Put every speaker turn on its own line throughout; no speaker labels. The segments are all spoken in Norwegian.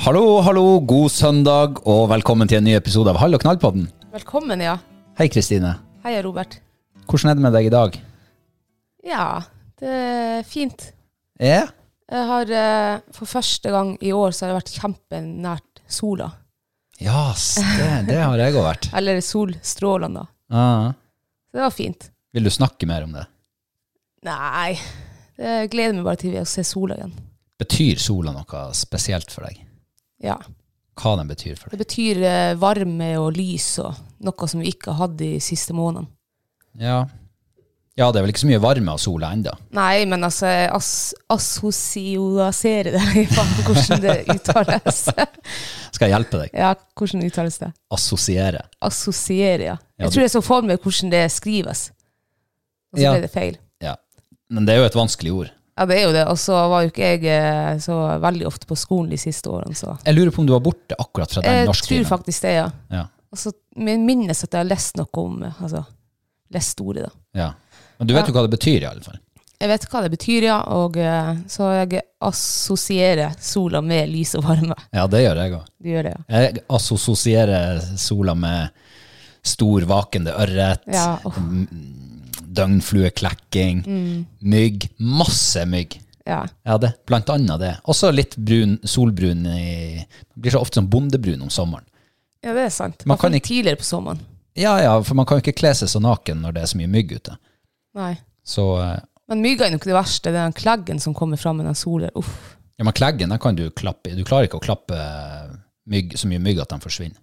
Hallo, hallo, god søndag, og velkommen til en ny episode av Hall og knall-podden.
Velkommen, ja.
Hei, Kristine.
Hei, Robert.
Hvordan er det med deg i dag?
Ja, det er fint.
Ja?
Jeg har eh, For første gang i år så har jeg vært kjempenært sola.
Ja, det, det har jeg òg vært.
Eller solstrålene, da.
Ah.
Så det var fint.
Vil du snakke mer om det?
Nei, det gleder meg bare til å se sola igjen.
Betyr sola noe spesielt for deg?
Ja.
Hva den betyr for deg?
Det betyr eh, varme og lys og noe som vi ikke har hatt de siste månedene.
Ja. ja, det er vel ikke så mye varme av sola ennå.
Nei, men altså, jeg as assosiasere det, i faen hvordan det uttales.
Skal jeg hjelpe deg?
ja, hvordan uttales det?
Assosiere.
assosiere, ja.
Ja,
Jeg tror jeg så for meg hvordan det skrives. Og så
Ja.
ble det feil.
Ja. Men det er jo et vanskelig ord.
Ja, det er jo det. Og så var jo ikke jeg eh, så veldig ofte på skolen de siste årene, så
Jeg lurer på om du var borte akkurat fra den
Jeg tror
norsktimen.
faktisk det, ja.
Ja.
Og så min- minnes at jeg har lest noe om eh, Altså, lest ordet, da.
Ja. Men du vet jo hva det betyr, i alle fall.
Jeg vet hva det betyr, ja, og eh, så jeg assosierer sola med lys og varme.
Ja, det gjør jeg òg.
Du gjør det, ja.
Jeg assosierer sola med stor vakende ørret,
ja åh,
Mm. døgnflueklekking, mygg. Masse mygg.
ja.
Ja, det, blant annet det. Også litt brun, solbrun i Blir så ofte sånn bondebrun om sommeren.
ja, det er sant.
Man
Man
kan
kan tidligere på sommeren.
Ja ja, for man kan jo ikke kle seg så naken når det er så mye mygg ute.
Nei.
Så eh,
Men mygga er nok det verste. Det er den kleggen som kommer fram med den sola. Uff.
ja, men kleggen, den kan du klappe i. Du klarer ikke å klappe mygg, så mye mygg at den forsvinner.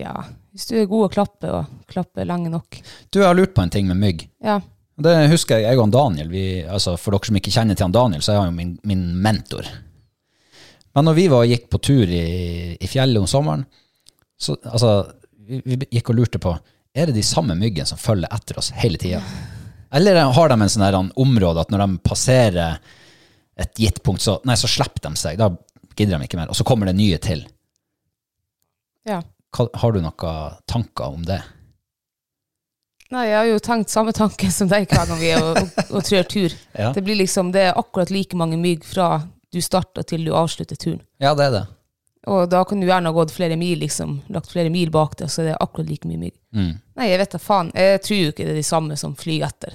Ja, hvis du er god å klappe, og klappe lenge nok.
Du, jeg har lurt på en ting med mygg.
Ja,
Og Det husker jeg, jeg og han Daniel, vi, altså for dere som ikke kjenner til han Daniel, så er han jo min, min mentor. Men når vi var og gikk på tur i, i fjellet om sommeren, så altså, vi, vi gikk og lurte på, er det de samme myggene som følger etter oss hele tiden? Eller har de en sånn her område at når de passerer et gitt punkt, så, nei, så slipper de seg, da gidder de ikke mer, og så kommer det nye til.
ja.
Hva, har du noen tanker om det?
Nei, jeg har jo tenkt samme tanke som deg hver gang vi er og, og, og trør tur.
Ja.
Det blir liksom, det er akkurat like mange mygg fra du starter til du avslutter turen.
Ja, det er det.
Og da kan du gjerne ha gått flere mil, liksom, lagt flere mil bak deg, så det er akkurat like mye mygg.
Mm.
Nei, jeg vet da faen. Jeg tror jo ikke det er de samme som flyr etter.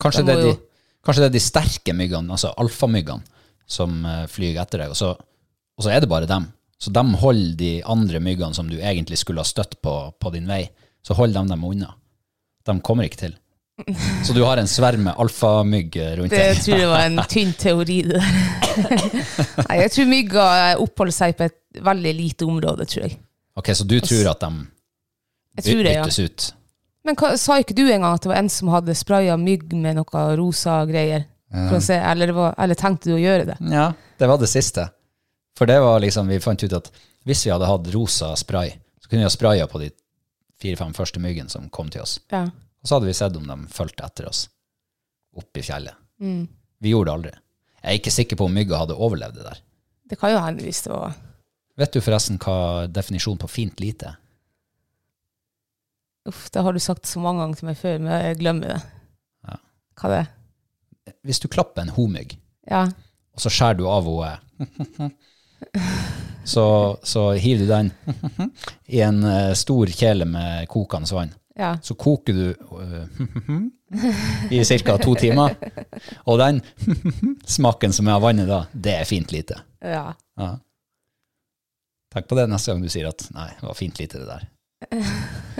Kanskje
Da
det, er
må
de,
jo-
kanskje det er de sterke myggene, altså alfamyggene, som eh, flyr etter deg, og så, og så er det bare dem. Så de holder de andre myggene som du egentlig skulle ha støtt på på din vei, så holder de dem unna. De kommer ikke til. Så du har en sverm med alfamygg rundt
Det
deg?
jeg tror jeg var en tynn teori, det der. Nei, jeg tror mygga oppholder seg på et veldig lite område, tror jeg.
Ok, så du tror at de
Jeg
by-
tror det, ja.
byttes ut?
Men hva, sa ikke du en gang at det var en som hadde spraya mygg med noe rosa greier? For å se, eller, det var, eller tenkte du å gjøre det?
Ja, det var det siste. For det var liksom, vi fant ut at hvis vi hadde hatt rosa spray, så kunne vi ha spraya på de fire-fem første myggen som kom til oss.
Ja.
Og så hadde vi sett om de fulgte etter oss opp i fjellet. Vi gjorde det aldri. Jeg er ikke sikker på om mygga hadde overlevd det der.
Det kan jo hende hvis det var
Vet du forresten hva definisjonen på fint lite er?
Uff, det har du sagt så mange ganger til meg før, men jeg glemmer det.
Ja.
Hva det er?
Hvis du klapper en homygg,
Ja.
og så skjærer du av henne så, så hiver du den i en eh, stor kjele med kokende vann.
ja.
Så koker du eh, i ca. to timer. Og den smaken som er av vannet da, det er fint lite.
ja.
Ja. Tenk på det neste gang du sier at 'nei, det var fint lite, det der'.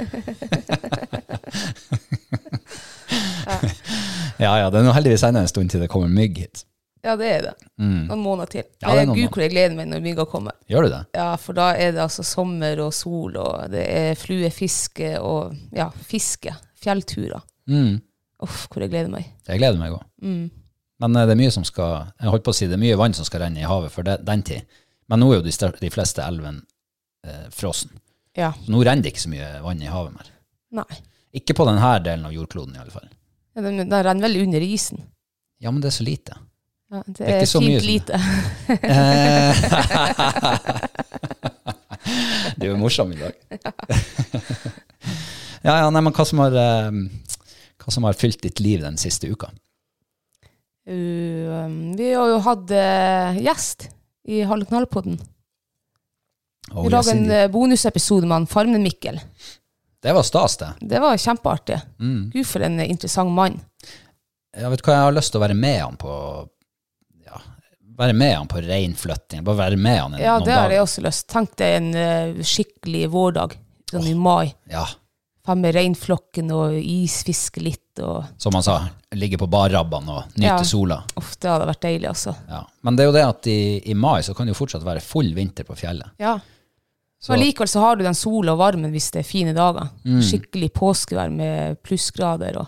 ja ja, det er nå heldigvis ennå en stund til det kommer mygg hit.
Ja, det er det. Noen måneder til.
Ja, det er noen
Gud, hvor jeg gleder meg når mygga kommer.
Gjør du det?
Ja, for da er det altså sommer og sol, og det er fluefiske og ja, fiske. Fjellturer.
Mm.
Uff, hvor jeg gleder meg.
Jeg gleder meg òg. Men eh, det er mye som skal Jeg holdt på å si det er mye vann som skal renne i havet for det, den tid. Men nå er jo de, stør- de fleste elvene eh, frossen.
Ja.
Så nå renner det ikke så mye vann i havet mer.
Nei.
Ikke på denne delen av jordkloden, i alle fall.
Ja, den, den renner vel under isen.
Ja, men det er så lite.
Ja, det,
er
er,
ikke så mye
fint
som-
lite.
Eh, du er morsom i dag. ja, ja, nei, men hva som har eh, Hva som har fylt ditt liv den siste uka?
Uh, um, vi har jo hatt eh, gjest i Halv knallpodden.
Oh,
Vi lager en
Yasin,
eh, bonusepisode med han Farmen Mikkel.
det var stas, det.
Det var kjempeartig. Gud, for en eh, interessant mann.
jeg vet hva, jeg har lyst til å være med han på ja, Være med han på reinflytting. Bare være med han en,
Ja,
noen
det har
dager.
jeg også lyst. Tenk deg en eh, skikkelig vårdag, sånn i mai.
Ja,
Fem med reinflokken og isfiske litt og
som han sa, ligge på barrabbene og nyte
Ja.
sola.
Uff, det hadde vært deilig, altså.
Ja. Men det er jo det at i, i mai så kan det jo fortsatt være full vinter på fjellet.
Ja.
Så,
Men likevel så har du den sola og varmen hvis det er fine dager. Skikkelig påskevær med plussgrader og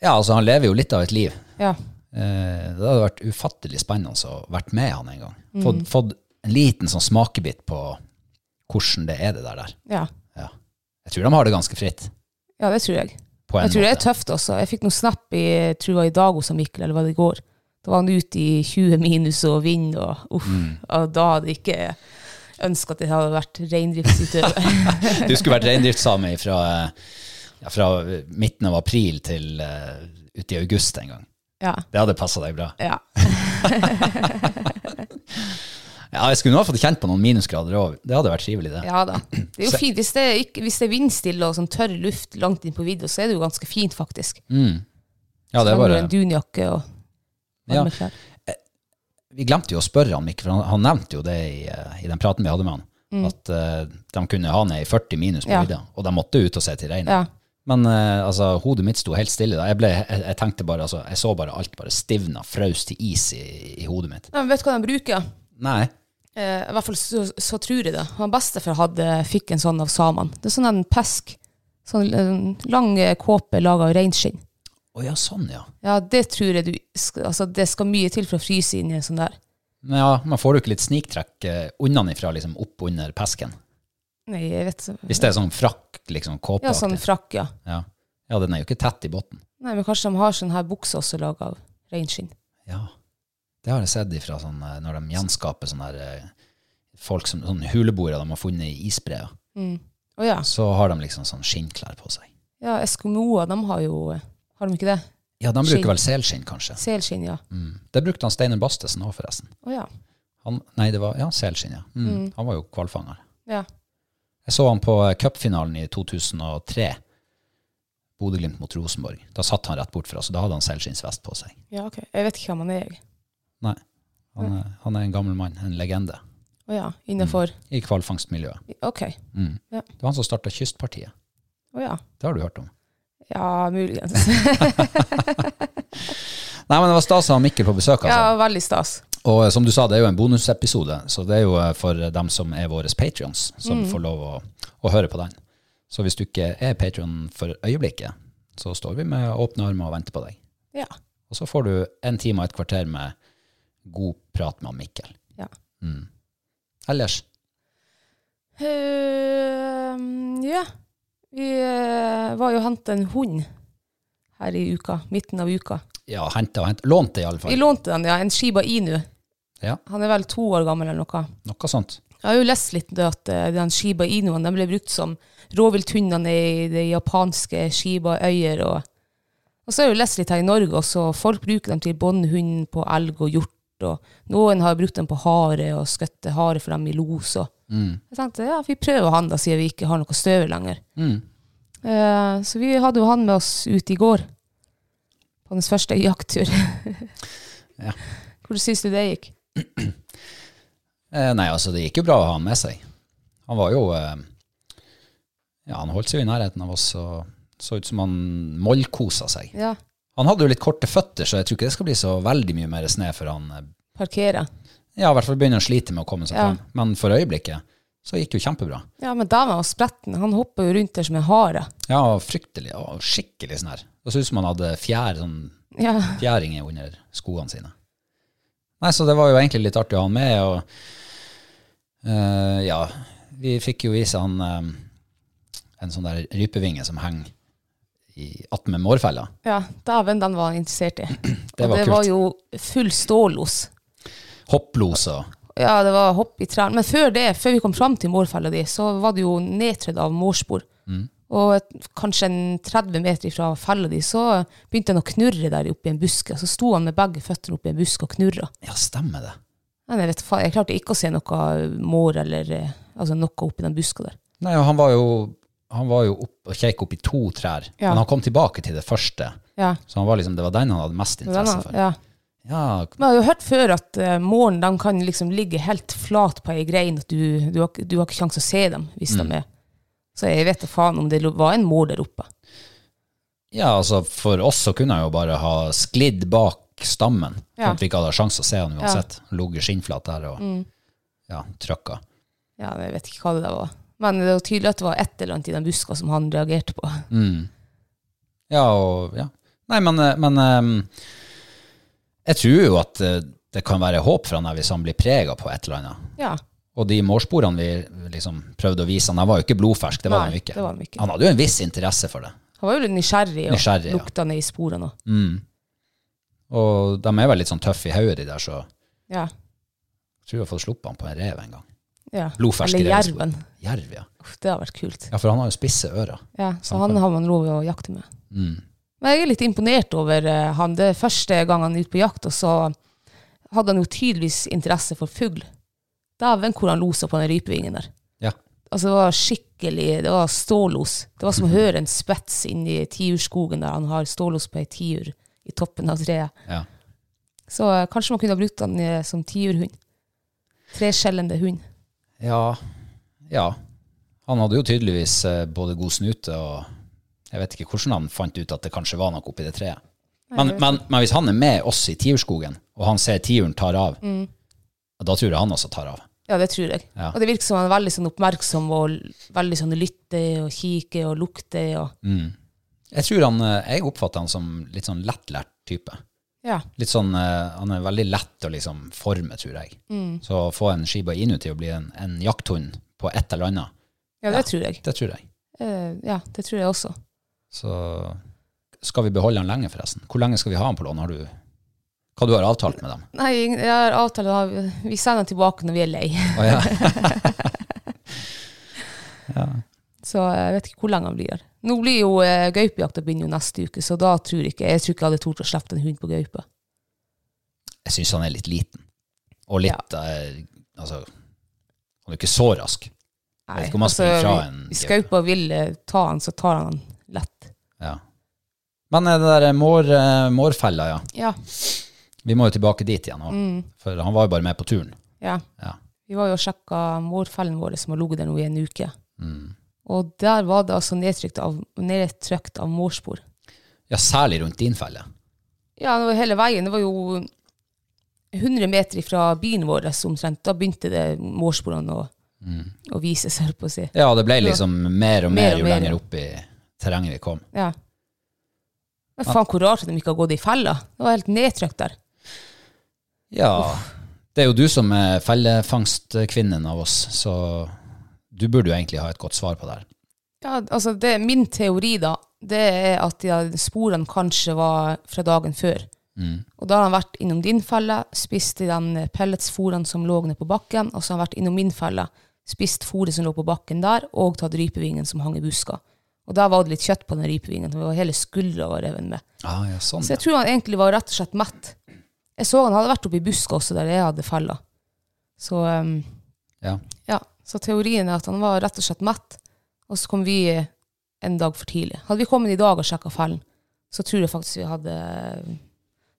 ja, altså han lever jo litt av et liv.
Ja.
Eh, det hadde vært ufattelig spennende å vært med han en gang.
Mm.
Fått, fått en liten sånn smakebit på hvordan det er det der. der.
Ja,
Ja. Jeg tror de har det ganske fritt.
ja det tror jeg.
På en
Jeg tror det
måte.
er tøft også. Jeg fikk noen snap i tror jeg var i dag hos han Mikkel, eller var det i går. Da var han ute i 20 minus og vind, og uff.
Mm.
Og da hadde jeg ikke ønska at jeg hadde vært reindriftsutøver.
Du skulle vært reindriftssame fra, ja, fra midten av april til eh, ut i august en gang.
ja.
Det hadde passa deg bra.
ja.
Ja, jeg skulle nå ha fått kjent på noen minusgrader òg. Det hadde vært trivelig, det.
Ja da. Det er jo fint. Hvis det er, ikke, hvis det er vindstille og sånn tørr luft langt inn på vidda, så er det jo ganske fint, faktisk.
Ja, det er
Så kan sånn, du
bare,
ha En dunjakke og
Ja.
varme klær.
vi glemte jo å spørre han, Mikk, for han, han nevnte jo det i, eh, i den praten vi hadde med han, at eh, de kunne ha ned i 40 minus på
Mm. Ja.
vidda, og de måtte ut og se til regnet.
Ja.
Men eh, altså, hodet mitt sto helt stille. da. Jeg, ble, jeg, jeg tenkte bare, altså, jeg så bare alt bare stivna, frøs til is i, i hodet mitt.
Nei, men vet du hva de bruker?
Nei.
Eh, I hvert fall så, så tror jeg det. Han bestefar hadde, fikk en sånn av samene. Det er sånn en pesk. Sånn en lang eh, kåpe laga av reinskinn.
Å ja, sånn, ja.
Ja, det tror jeg du sk- Altså, det skal mye til for å fryse inn i en sånn der.
Men ja, man får jo ikke litt sniktrekk eh, unnanifra, liksom opp under pesken.
Nei, jeg vet
Hvis det er sånn frakk, liksom kåpeaktig.
Ja, sånn frakk, ja.
ja. ja, den er jo ikke tett i bunnen.
Nei, men kanskje de har sånn her bukse også laga av reinskinn.
Ja, det har jeg sett ifra sånn, eh, når de gjenskaper sånne her, eh, folk som, sånne huleboere de har funnet i isbreer.
Å ja.
Så har de liksom sånn skinnklær på seg.
Ja, Eskimoer, de har jo eh, Har de ikke det?
Ja, de
Skinn.
bruker vel selskinn, kanskje.
Selskinn, ja.
Mm. Det brukte han Steiner Bastesen òg, forresten.
Å ja.
Han, nei, det var ja, selskinn, ja. Mm. Han var jo hvalfanger.
ja.
Jeg så han på eh, cupfinalen i 2003. Bodø-Glimt mot Rosenborg. Da satt han rett bortfra, så da hadde han selskinnsvest på seg.
Ja, ok. Jeg vet ikke hvem han er, jeg.
Nei, han, er- han er en gammel mann, en legende,
Å ja. Innafor
i hvalfangstmiljøet.
Ok.
Mm.
Ja.
Det var han som starta Kystpartiet.
Å ja.
Det har du hørt om.
Ja, muligens.
Nei, men det var stas å ha Mikkel på besøk. Altså.
Ja, veldig stas.
Og eh, som du sa, det er jo en bonusepisode, så det er jo eh, for dem som er våre patrions, som får lov å, å høre på den. Så hvis du ikke er patrion for øyeblikket, så står vi med åpne armer og venter på deg.
Ja.
Og så får du en time og et kvarter med god prat med Mikkel.
Ja.
Mm. Ellers,
Ehm, ja. Vi eh, var jo og hentet en hund her i uka, midten av uka.
ja, hente og hente. Lånt det i alle
Vi
fall.
lånte den, ja. En Shiba Inu.
Ja.
Han er vel to år gammel eller noe.
Noe sånt.
Jeg har jo lest litt det at eh, den Shiba Inuen den ble brukt som rovvilthundene i det japanske Shiba-øyer. Og, og så har jeg jo lest litt her i Norge også. Folk bruker dem til båndhund på elg og hjort. Og noen har brukt dem på hare og skutt hare for dem i los. Og. Jeg tenkte ja, vi prøver han da, siden vi ikke har noe støvel lenger. Eh, så vi hadde jo han med oss ut i går, på hans første jakttur.
Ja.
Hvordan syns du det gikk?
Eh, nei, altså, det gikk jo bra å ha han med seg. Han var jo eh, Ja, han holdt seg jo i nærheten av oss og så ut som han mollkosa seg.
Ja,
Han hadde jo litt korte føtter, så jeg tror ikke det skal bli så veldig mye mer sne før han eh,
parkere.
ja, i hvert fall begynner å slite med å komme seg
Ja.
fram. Men for øyeblikket så gikk jo kjempebra.
Ja, men da var han spretten. Han hopper jo rundt der som en hare.
Ja, og fryktelig og skikkelig sånn her. Det så ut som han hadde fjær, sånn
Ja.
fjæringer under skoene sine. Nei, så det var jo egentlig litt artig å ha han med, og eh, ja, vi fikk jo i seg han eh, en sånn der rypevinge som henger i attmed mårfella.
ja Dæven, den var han interessert i.
Det
og
var
det
kult.
var jo full stålos.
Hopplos og
Ja, det var hopp i trærne. Men før det, før vi kom fram til mårfella di, så var det jo nedtrødd av mårspor.
Mm.
Og et, kanskje en 30 meter fra fella di, så begynte han å knurre der oppe i en busk. Og Så sto han med begge føttene oppi en busk og knurra.
Ja, stemmer det.
Men jeg vet faen, jeg klarte ikke å se noe mår eller eh, altså noe oppi den buska der.
Nei, og han var jo, han var jo opp og kjekk opp i to trær,
Ja.
men han kom tilbake til det første.
Ja.
Så han var liksom, det var den han hadde mest
Den,
interesse for.
ja.
Ja,
Men jeg har jo hørt før at uh, måren de kan liksom ligge helt flat på ei grein, at du, du, har, ikke- du har ikke sjanse å se dem hvis
Mm.
de er Så jeg vet da faen om det lo- var en mår der oppe.
ja, altså for oss så kunne han jo bare ha sklidd bak stammen,
Ja. Mm.
sånn at vi ikke hadde sjans å se han uansett. Han Ligger skinnflat der og ja, trøkka.
Ja, jeg vet ikke hva det der var. Men det var tydelig at det var et eller annet i den buska som han reagerte på.
Mm. Ja, og ja. Nei, men, eh, men eh, jeg tror jo at eh, det kan være håp for han her hvis han blir prega på et eller annet.
Ja.
Og de mårsporene vi liksom prøvde å vise han, han var jo ikke blodfersk, det var
Nei,
han jo ikke.
det var han ikke.
Han hadde jo en viss interesse for det.
Han var jo litt nysgjerrig og
Nysgjerrig, ja.
lukta ned i sporene. og-
Mm. Og de er vel litt sånn tøffe i hodet, de der, så jeg
Ja.
tror jeg har fått sluppet han på en rev en gang.
ja.
Blodfersk
Eller
revespor.
jerven.
Jerv, ja.
Uff, det har vært kult.
Ja, for han har jo spisse ører.
Ja, så han har man lov å jakte med.
Mm.
Men jeg er litt imponert over eh, han. Det er første gang han er ute på jakt, og så hadde han jo tydeligvis interesse for fugl. Dæven hvor han losa på den rypevingen der.
Ja.
Altså Det var skikkelig Det var stålos. Det var som
Mhm.
å høre en spets inni tiurskogen der han har stålos på ei tiur i toppen av treet.
ja.
Så eh, kanskje man kunne ha brukt han eh, som tiurhund. Treskjellende hund.
Ja. Ja. Han hadde jo tydeligvis eh, både god snute og Jeg vet ikke hvordan han fant ut at det kanskje var noe oppi det treet. Men, men, men hvis han er med oss i tiurskogen, og han ser tiuren tar av,
Mm.
da tror jeg han også tar av.
Ja, det tror jeg.
Ja.
Og det virker som han er veldig sånn oppmerksom og l- veldig sånn lytter og kikker og lukter og
Jeg tror han, eh, jeg oppfatter han som litt sånn lettlært type.
Ja.
Litt sånn, eh, Han er veldig lett å liksom forme, tror jeg. Så å få en Shiba Inu til å bli en, en jakthund på et eller annet,
ja, det tror jeg.
det tror jeg.
Eh, ja, det tror jeg også.
Så skal vi beholde han lenge, forresten. Hvor lenge skal vi ha han på lån? Har du, hva du har avtalt med dem?
Nei, ingen- jeg har avtale da. Vi sender tilbake når vi er lei.
Å, ja.
Så jeg vet ikke hvor lenge han blir her. Nå blir jo eh, gaupejakta begynner jo neste uke, så da tror jeg ikke Jeg tror ikke jeg hadde tort å slippe en hund på gaupe.
Jeg syns han er litt liten. Og litt eh, Altså, han er ikke så rask. vet ikke om han springer fra en
altså, vi- Hvis gaupa vil eh, ta han, så tar han han lett.
Ja. Men eh, det der mår, eh, mårfella, ja.
Ja.
Vi må jo tilbake dit igjen. Og,
Mm.
For han var jo bare med på turen.
ja.
Ja. Mm.
Vi var jo og sjekka mårfellen vår som har ligget der nå i en uke. Og der var det altså nedtrykt av, nedtrykt av morspor.
Ja, særlig rundt din felle.
Ja, det var hele veien. Det var jo 100 meter fra bilen vår omtrent. Da begynte det mårsporene å, å vise seg, holdt på å si.
Ja, det ble liksom mer og
Mer
mer,
og
jo
mer,
lenger
ja.
opp i terrenget vi kom.
Ja. Men faen, hvor rart at de ikke har gått i fella. Det var helt nedtrykt der.
Ja, det er jo du som er fellefangstkvinnen av oss, så du burde jo egentlig ha et godt svar på det her.
Ja, altså, det er min teori, da. Det er at de her sporene kanskje var fra dagen før. Og da har han vært innom din felle, spist i den pelletsfòrene som lå nede på bakken, og så har han vært innom min felle, spist fòret som lå på bakken der, og tatt rypevingen som hang i buska. Og der var det litt kjøtt på den rypevingen, det var hele skuldra var reven med.
Ah, ja, sånn.
Så jeg tror han egentlig var rett og slett mett. Jeg så han hadde vært oppe i buska også, der jeg hadde fella. Så, ehm,
Ja.
ja. så teorien er at han var rett og slett mett, og så kom vi en dag for tidlig. Hadde vi kommet i dag og sjekka fellen, så tror jeg faktisk vi hadde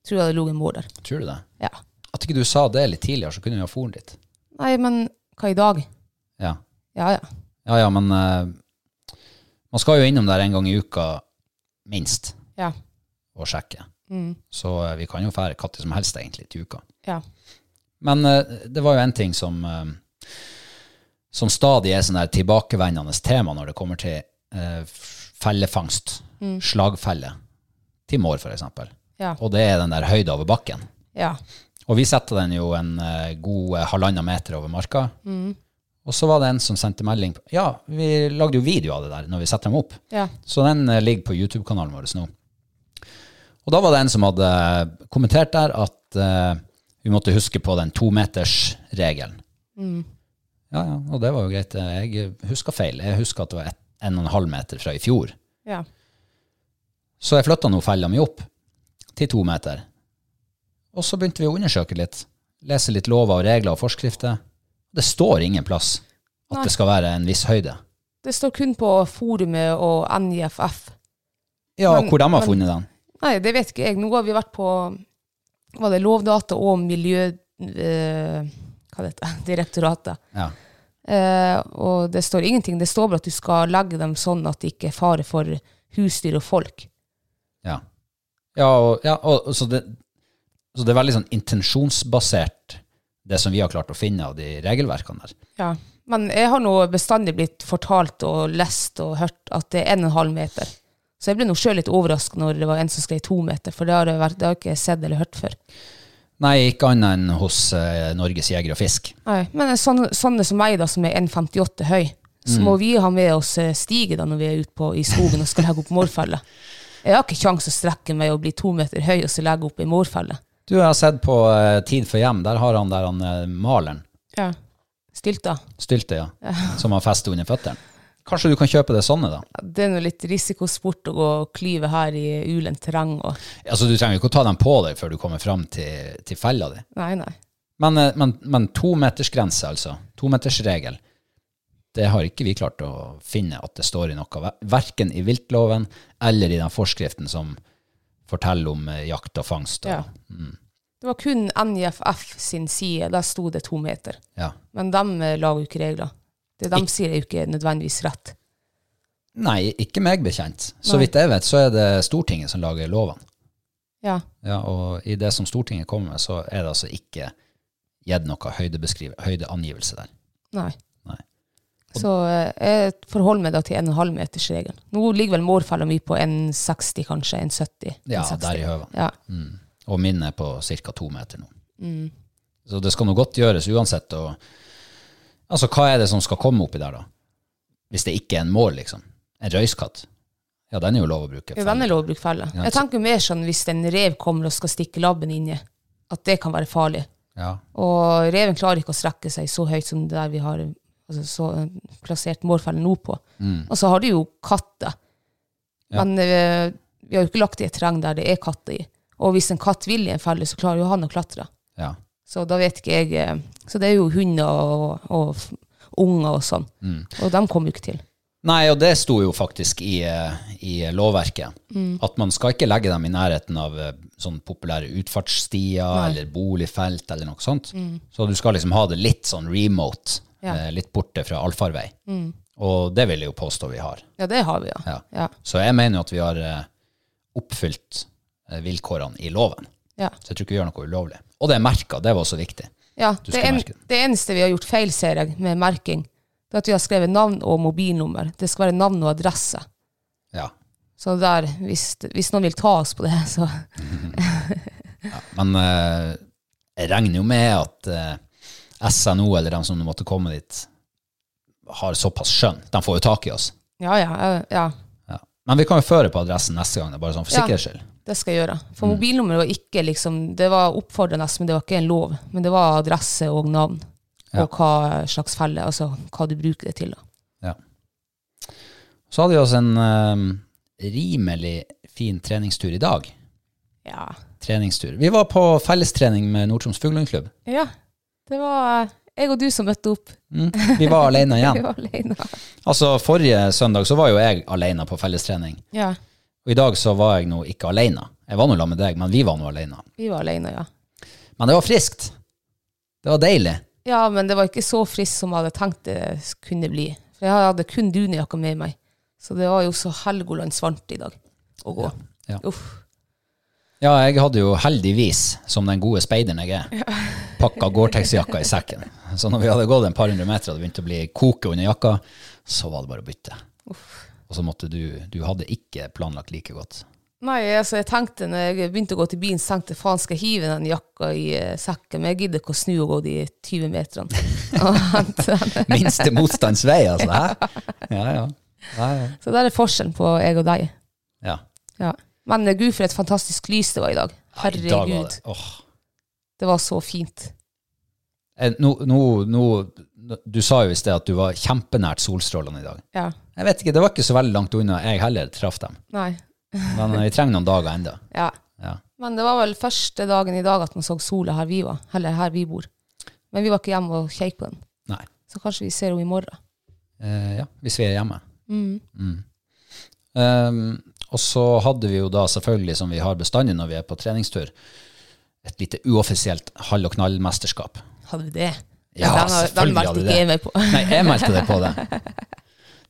Tror jeg hadde ligget en mor der.
Tror du det?
Ja.
At ikke du sa det litt tidligere, så kunne vi ha foren dit.
Nei, men hva i dag?
Ja,
Ja, ja.
ja, ja men eh, man skal jo innom der en gang i uka, minst,
Ja.
og sjekke.
Mm.
Så eh, vi kan jo fære katter som helst egentlig til uka.
ja.
Men eh, det var jo en ting som, eh, som stadig er sånn der tilbakevendende tema når det kommer til eh, f- fellefangst, slagfelle, til mår for eksempel.
Ja.
Og det er den der høyde over bakken.
ja.
Og vi setter den jo en eh, god eh, halvannen meter over marka. Og så var det en som sendte melding på, Ja, vi lagde jo video av det der når vi setter dem opp.
ja.
Så den eh, ligger på YouTube-kanalen vår nå. Og da var det en som hadde kommentert der at eh, vi måtte huske på den tometersregelen.
Mm.
Ja, ja, og det var jo greit. Jeg huska feil. Jeg huska at det var ett- en og en halv meter fra i fjor.
ja.
Så jeg flytta nå fella mi opp til to meter. Og så begynte vi å undersøke litt. Lese litt lover og regler og forskrifter. Det står ingen plass at
Nei.
det skal være en viss høyde.
Det står kun på forumet og NIFF.
Ja,
Men-
og hvor de har
men-
funnet den.
Nei, det vet ikke jeg. Nå har vi vært på var det Lovdata og Miljø... Eh, hva det heter Direktoratet.
Ja.
Eh, og det står ingenting. Det står bare at du skal legge dem sånn at det ikke er fare for husdyr og folk.
Ja. ja, og, ja og, og så, det, så det er veldig sånn intensjonsbasert, det som vi har klart å finne av de regelverkene der.
Ja. Men jeg har nå bestandig blitt fortalt og lest og hørt at det er en og en halv meter. Så jeg ble nå sjøl litt overraska når det var en som skrev to meter, for det har jeg, vært, det har jeg ikke sett eller hørt før.
Nei, ikke annet enn hos eh, Norges Jeger og Fisk.
Nei, Men sånne, sånne som meg, da, som er 1,58 høy, så må vi ha med oss eh, stige da når vi er ute på, i skogen og skal legge opp mårfelle. Jeg har ikke kjangs å strekke meg og bli to meter høy og så legge opp ei mårfelle.
Du jeg har sett på eh, Tid for hjem, der har han der han eh, maleren,
Ja. Stylter.
Stylte, ja, som har festet under føttene. Kanskje du kan kjøpe det sånne, da?
Ja, Det er nå litt risikosport å gå og klyve her i ulendt terreng og
Altså, Du trenger jo ikke å ta dem på deg før du kommer fram til, til fella di.
Nei, nei.
Men, eh, men, men tometersgrense, altså. Tometersregel. Det har ikke vi klart å finne at det står i noe, ver- verken i viltloven eller i den forskriften som forteller om eh, jakt og fangst. Og,
Ja.
Mm.
Det var kun NJFF sin side, der sto det to meter.
ja.
Men de eh, lager jo ikke regler. Det de sier er jo ikke nødvendigvis rett.
Nei, ikke meg bekjent. Så
Nei.
vidt jeg vet, så er det Stortinget som lager lovene.
Ja.
Ja, og i det som Stortinget kommer med, så er det altså ikke gitt noe høydebeskrive- høydeangivelse der.
Nei.
Nei.
Så eh, jeg forholder meg da til 1,5 meters regelen. Nå ligger vel mårfella mi på 1,60 kanskje, 1,70.
Ja,
1,60.
der i høven.
Ja.
Mm. Og min er på ca. to meter nå.
Mm.
Så det skal nå godt gjøres uansett. Og, altså, hva er det som skal komme oppi der, da? Hvis det ikke er en mål, liksom. En røyskatt. Ja, den er jo lov å bruke.
ja, den er lovbrukfelle.
Ja,
Jeg
så-
tenker mer sånn hvis en rev kommer og skal stikke labben inni, at det kan være farlig.
Ja.
Og reven klarer ikke å strekke seg så høyt som der vi har altså, så, plassert mårfellen nå på. Og så har de jo katter.
Mm. Ja.
Men eh, vi har jo ikke lagt det i et terreng der det er katter i. Og hvis en katt vil i en felle, så klarer jo han å klatre.
ja.
Så da vet ikke jeg eh, Så det er jo hunder og, og f- unger og sånn.
Mm.
Og dem kommer jo ikke til.
Nei, og det sto jo faktisk i, eh, i lovverket.
Mm.
At man skal ikke legge dem i nærheten av eh, sånn populære utfartsstier eller boligfelt eller noe sånt. Så du skal liksom ha det litt sånn remote,
Mm. Ja. Mm.
eh, litt borte fra allfarvei. Og det vil jeg jo påstå vi har.
Ja, det har vi, ja.
Ja.
Ja.
Så jeg mener jo at vi har eh, oppfylt eh, vilkårene i loven.
Ja.
Så jeg tror ikke vi gjør noe ulovlig. Og det er merka, det var også viktig.
ja.
Du
Det,
skal
en,
merke det.
det eneste vi har gjort feil, ser jeg, med merking, det er at vi har skrevet navn og mobilnummer. Det skal være navn og adresse.
Ja.
Så der, hvis, hvis noen vil ta oss på det, så
Men eh, jeg regner jo med at eh, SNO, eller de som måtte komme dit, har såpass skjønn. De får jo tak i oss.
Ja, ja. jeg- ja.
Ja. Men vi kan jo føre på adressen neste gang, det er bare sånn for
Ja.
sikkerhets skyld.
Det skal jeg gjøre. For mobilnummeret var ikke liksom, det var oppfordrende, men det var ikke en lov. Men det var adresse og navn,
Ja.
og hva slags felle, altså hva du bruker det til. da.
Ja. Så hadde vi oss en eh, rimelig fin treningstur i dag.
Ja.
Treningstur. Vi var på fellestrening med Nord-Troms Fuglehundklubb.
ja. Det var eh, jeg og du som møtte opp.
Mm. Vi var alene
Vi
igjen.
var alene.
Altså, forrige søndag så var jo jeg alene på fellestrening.
Ja,
Og i dag så var jeg nå ikke alene. Jeg var nå sammen med deg, men vi var nå alene.
vi var alene, ja.
Men det var friskt. Det var deilig.
Ja, men det var ikke så friskt som jeg hadde tenkt det kunne bli. For jeg hadde kun dunjakka med meg. Så det var jo så Helgoland varmt i dag å gå.
Ja, ja.
Uff.
Ja, jeg hadde jo heldigvis, som den gode speideren jeg er, pakka Gore-Tex-jakka i sekken. Så når vi hadde gått en par hundre meter og det begynte å bli koke under jakka, så var det bare å bytte. Og så måtte du Du hadde ikke planlagt like godt.
Nei, altså jeg tenkte når jeg begynte å gå til bilen, så tenkte jeg faen skal jeg hive den jakka i eh, sekken, men jeg gidder ikke å snu og gå de 20 meterne. Og hente den.
Minste motstands vei, altså. Hæ? Ja, ja. Ja, ja.
så der er forskjellen på jeg og deg.
ja.
Ja. Men eh, gud, for et fantastisk lys det var i
I
dag.
dag var
Herregud,
det Åh.
det var så fint.
Eh, Nå, nå, nå, du sa jo i sted at du var kjempenært solstrålene i dag.
Ja,
Jeg vet ikke, Det var ikke så veldig langt unna jeg heller traff dem.
nei,
Men eh, vi trenger noen dager ennå.
ja.
Ja.
Men det var vel første dagen i dag at man så sola her vi var, eller her vi bor. Men vi var ikke hjemme og kjekk på den,
Nei.
så kanskje vi ser henne i morgen.
Eh, ja, hvis vi er hjemme.
Mm.
Um, og så hadde vi jo da selvfølgelig, som vi har bestandig når vi er på treningstur, et lite uoffisielt hall- og knallmesterskap.
Hadde vi det?
Ja,
den, har- den
selvfølgelig hadde
meldte
vi
ikke
det.
jeg meg på.
Nei, jeg meldte deg på det.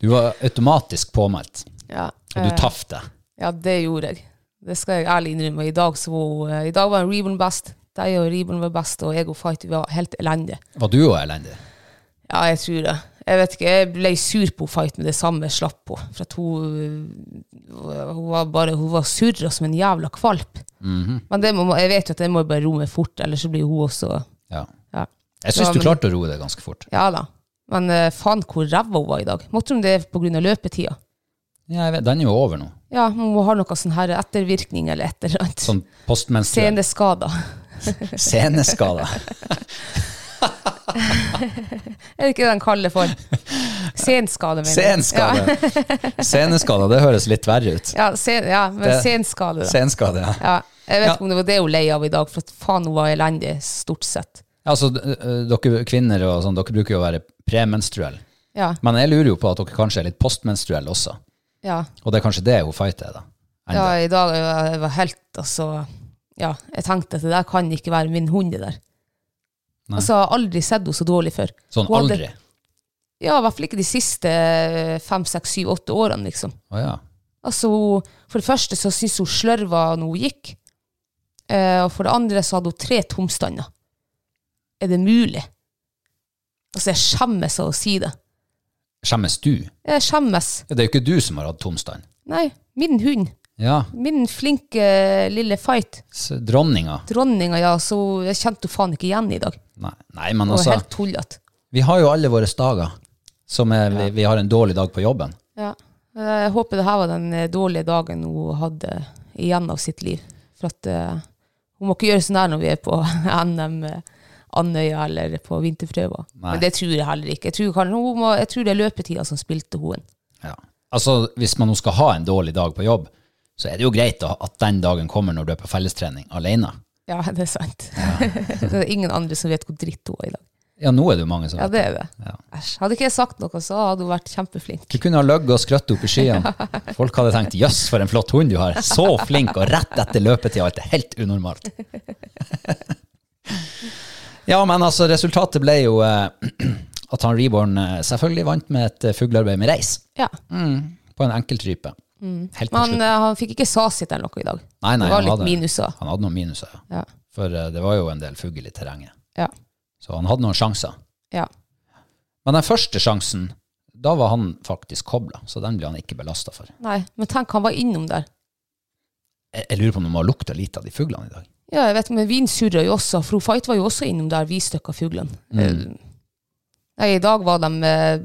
Du var automatisk påmeldt,
Ja,
og du
eh,
traff det.
Ja, det gjorde jeg. Det skal jeg ærlig innrømme. I dag, så, eh, i dag var Reborn best. De og Reborn var best, og jeg og Fighty var helt elendige.
Var du òg elendig?
Ja, jeg tror det. Jeg vet ikke, jeg ble sur på Fight med det samme jeg slapp på. For at hun, eh, hun var bare Hun var surra som en jævla kvalp. Men det må, jeg vet jo at jeg må bare roe meg fort, ellers så blir hun også
Ja.
Ja,
Jeg syns
Ja,
du
men-
klarte å roe det ganske fort.
ja da. Men eh, faen hvor ræva hun var i dag. Måtte hun det pga. løpetida?
Ja, jeg vet, den er jo over nå.
Ja, hun har noe sånn her ettervirkning eller et eller annet.
Sånn postmenstruell
Seneskader.
seneskade.
Er det ikke det de kaller for? Senskade, mener jeg.
Senskade. Seneskade, det høres litt verre ut.
Ja, ja, sen, ja men
Det-
senskade, da.
Senskade, ja.
Ja, jeg vet
Ja.
ikke om det var det hun lei av i dag, for at faen, hun var elendig, stort sett.
Altså, d- ø, dere kvinner og sånn, dere bruker jo å være premenstruelle.
Ja,
Men jeg lurer jo på at dere kanskje er litt postmenstruelle også.
ja.
Og det er kanskje det hun fighter, da. Enda.
ja i dag var jeg var helt, altså Ja, jeg tenkte at det der kan ikke være min hund, det der.
Nei.
Altså, jeg har aldri sett henne så dårlig før.
Sånn
Hun hadde-
aldri.
Ja, i hvert fall ikke de siste eh, fem, seks, syv, åtte årene, liksom.
Å ja.
Altså, hun- for det første så syntes hun slørva når hun gikk. Eh, og for det andre så hadde hun tre tomstander. Er det mulig? Altså, jeg skjemmes av å si det.
Skjemmes du?
Jeg skjemmes.
Det er jo ikke du som har hatt tomstand.
Nei, min hund.
Ja,
Min flinke lille fight.
s- dronninga.
Dronninga, ja. Så jeg kjente henne faen ikke igjen i dag.
Nei, nei men
Hun var
altså,
helt tullete.
vi har jo alle våre dager som er, vi, vi har en dårlig dag på jobben.
Ja. Jeg håper det her var den eh, dårlige dagen hun hadde igjen av sitt liv. For at eh, hun må ikke gjøre sånn her når vi er på NM eh, Andøya eller på vinterprøver.
Nei.
Men det tror jeg heller ikke. Jeg tror, kan, hun må, jeg tror det er løpetida som spilte hoen.
Ja. Altså, hvis man nå skal ha en dårlig dag på jobb, så er det jo greit da, at den dagen kommer når du er på fellestrening alene.
Ja, det er sant. det er ingen andre som vet hvor dritt hun er i dag.
Ja, nå er det jo mange som
Ja, det er det.
Ja.
Æsj. Hadde ikke jeg sagt noe, så hadde hun vært kjempeflink.
Du kunne ha løgget og skrøtt opp i skyene. Folk hadde tenkt 'jøss, for en flott hund du har'. Så flink, og rett etter løpetida. Alt er helt unormalt. Ja, men altså, resultatet ble jo eh, at han Reborn eh, selvfølgelig vant med et eh, fuglearbeid med reis.
Ja.
Mm, på en enkeltrype. Helt
Men
på
han,
slutt.
eh, han fikk ikke SAS-sitt eller noe i dag.
Nei, nei,
det var
han
litt
hadde-
minuser.
Han hadde noen minuser, ja.
Ja.
For eh, det var jo en del fugl i terrenget.
Ja.
Så han hadde noen sjanser.
ja.
Men den første sjansen, da var han faktisk kobla, så den ble han ikke belasta for.
Nei, men tenk, han var innom der.
Jeg, jeg lurer på om de har lukta lite av de fuglene i dag.
Ja, jeg vet, men vin surra jo også. Fro Fight var jo også innom der vi støkka fuglene. Eh, Nei, i dag var de eh,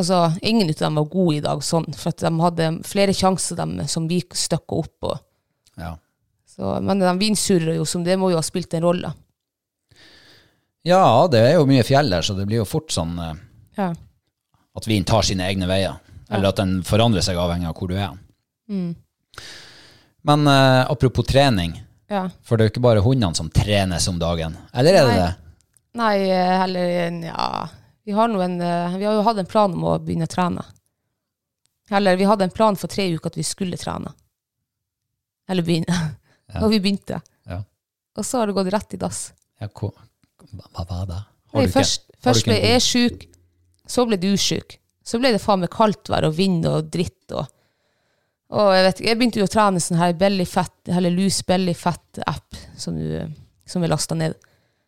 Altså, ingen av dem var gode i dag, sånn, for at de hadde flere sjanser dem som vi støkka opp. Og,
Ja.
så, men de vinsurra jo, som det må jo ha spilt en rolle.
ja, det er jo mye fjell der, så det blir jo fort sånn eh,
Ja.
at vinen tar sine egne veier. Eller at den forandrer seg avhengig av hvor du er. Mm. Men eh, apropos trening,
ja.
for det er jo ikke bare hundene som trenes om dagen. Eller er det
Nei.
det?
Nei, eh, heller en- Ja. Vi har, nå en, eh, vi har jo hatt en plan om å begynne å trene. Eller vi hadde en plan for tre uker at vi skulle trene. Eller begynne. Og vi begynte.
Ja.
Og så har det gått rett i dass.
Ja, hvor- hva, hva var det? Har
Nei,
du ikke-
først,
har du
først
ikke
ble
en
jeg sjuk, så ble du sjuk. Så ble det faen meg kaldt vær og vind og dritt og Og jeg vet ikke, jeg begynte jo å trene sånn her bellyfett, eller lus bellyfett-app som, du- som jeg lasta ned.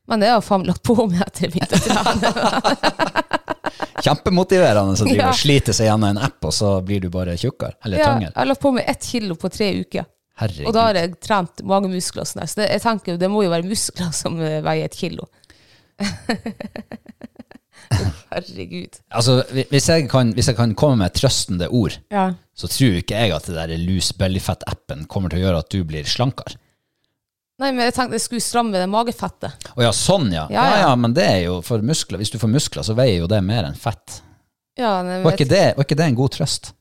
Men det har jeg faen meg lagt på meg etter jeg begynte å trene.
god- Kjempemotiverende å drive
Ja.
og slite seg gjennom en app, og så blir du bare tjukkere. Eller
Ja, jeg
tyngre.
har lagt på meg ett kilo på tre uker.
Herregud.
Og da har jeg trent mange muskler. og Sånn her. så det, jeg tenker jo, det må jo være muskler som eh, veier et kilo. Herregud.
Altså, hvi- hvis jeg, kan, hvis jeg kan komme med et trøstende ord,
Ja.
så tror ikke jeg at det der loose bellyfett-appen kommer til å gjøre at du blir slankere.
Nei, men jeg tenkte jeg skulle stramme det magefettet.
Å ja, sånn ja. Ja,
Ja,
ja.
ja.
men det er jo for muskler. Hvis du får muskler, så veier jo det mer enn fett.
Ja, nei, men
Var
jeg
ikke det, var ikke det en god trøst?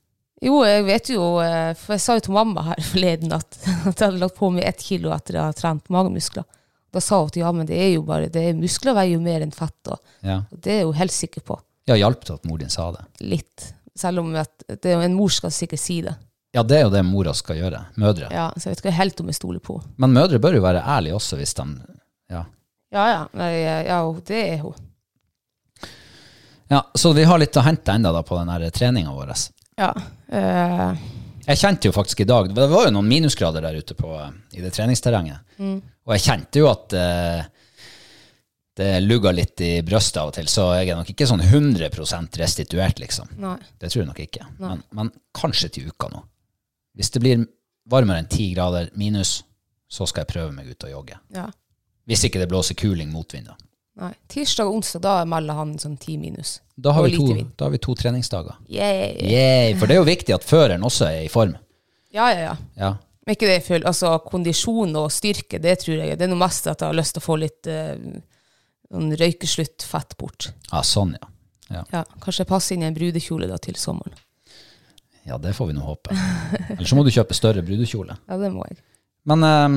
Jo, jeg vet jo, eh, for jeg sa jo til mamma her forleden at, at jeg hadde lagt på meg ett kilo etter jeg hadde trent magemuskler. Da sa hun at ja, men det er jo bare, det er muskler veier jo mer enn fett, og,
Ja,
og det er jeg jo helt sikker på.
ja hjalp det at mor din sa det?
Litt. Selv om at det, er jo- en mor skal sikkert si det.
Ja, det er jo det mora skal gjøre. Mødre.
Ja, så jeg vet ikke helt om jeg stoler på.
Men mødre bør jo være ærlige også, hvis de ja.
Ja, ja, nei, eh, ja, og det er hun.
ja. Så vi har litt å hente enda da på den treninga vår.
Ja. eh,
Jeg kjente jo faktisk i dag Det var jo noen minusgrader der ute på, i det treningsterrenget.
Mm.
Og jeg kjente jo at eh, det lugga litt i brystet av og til, så jeg er nok ikke sånn 100 restituert, liksom.
nei.
Det tror jeg nok ikke. Men, men kanskje til uka nå. Hvis det blir varmere enn 10 grader minus, så skal jeg prøve meg ut og jogge.
Ja.
Hvis ikke det blåser kuling motvind, da.
Nei. Tirsdag og onsdag, da melder han sånn ti minus.
Da har,
Og
vi
lite
to,
vind.
da har vi to treningsdager.
Yay.
Yay, for det er jo viktig at føreren også er i form.
Ja, ja, ja.
Ja.
Men ikke det jeg føler, altså kondisjon og styrke, det tror jeg, det er noe mest at jeg har lyst til å få litt eh, sånn røykesluttfett bort.
ja, sånn, ja. ja.
Ja, kanskje jeg passer inn i en brudekjole da til sommeren.
Ja, det får vi nå håpe. Eller så må du kjøpe større brudekjole.
Ja, det må jeg.
Men ehm,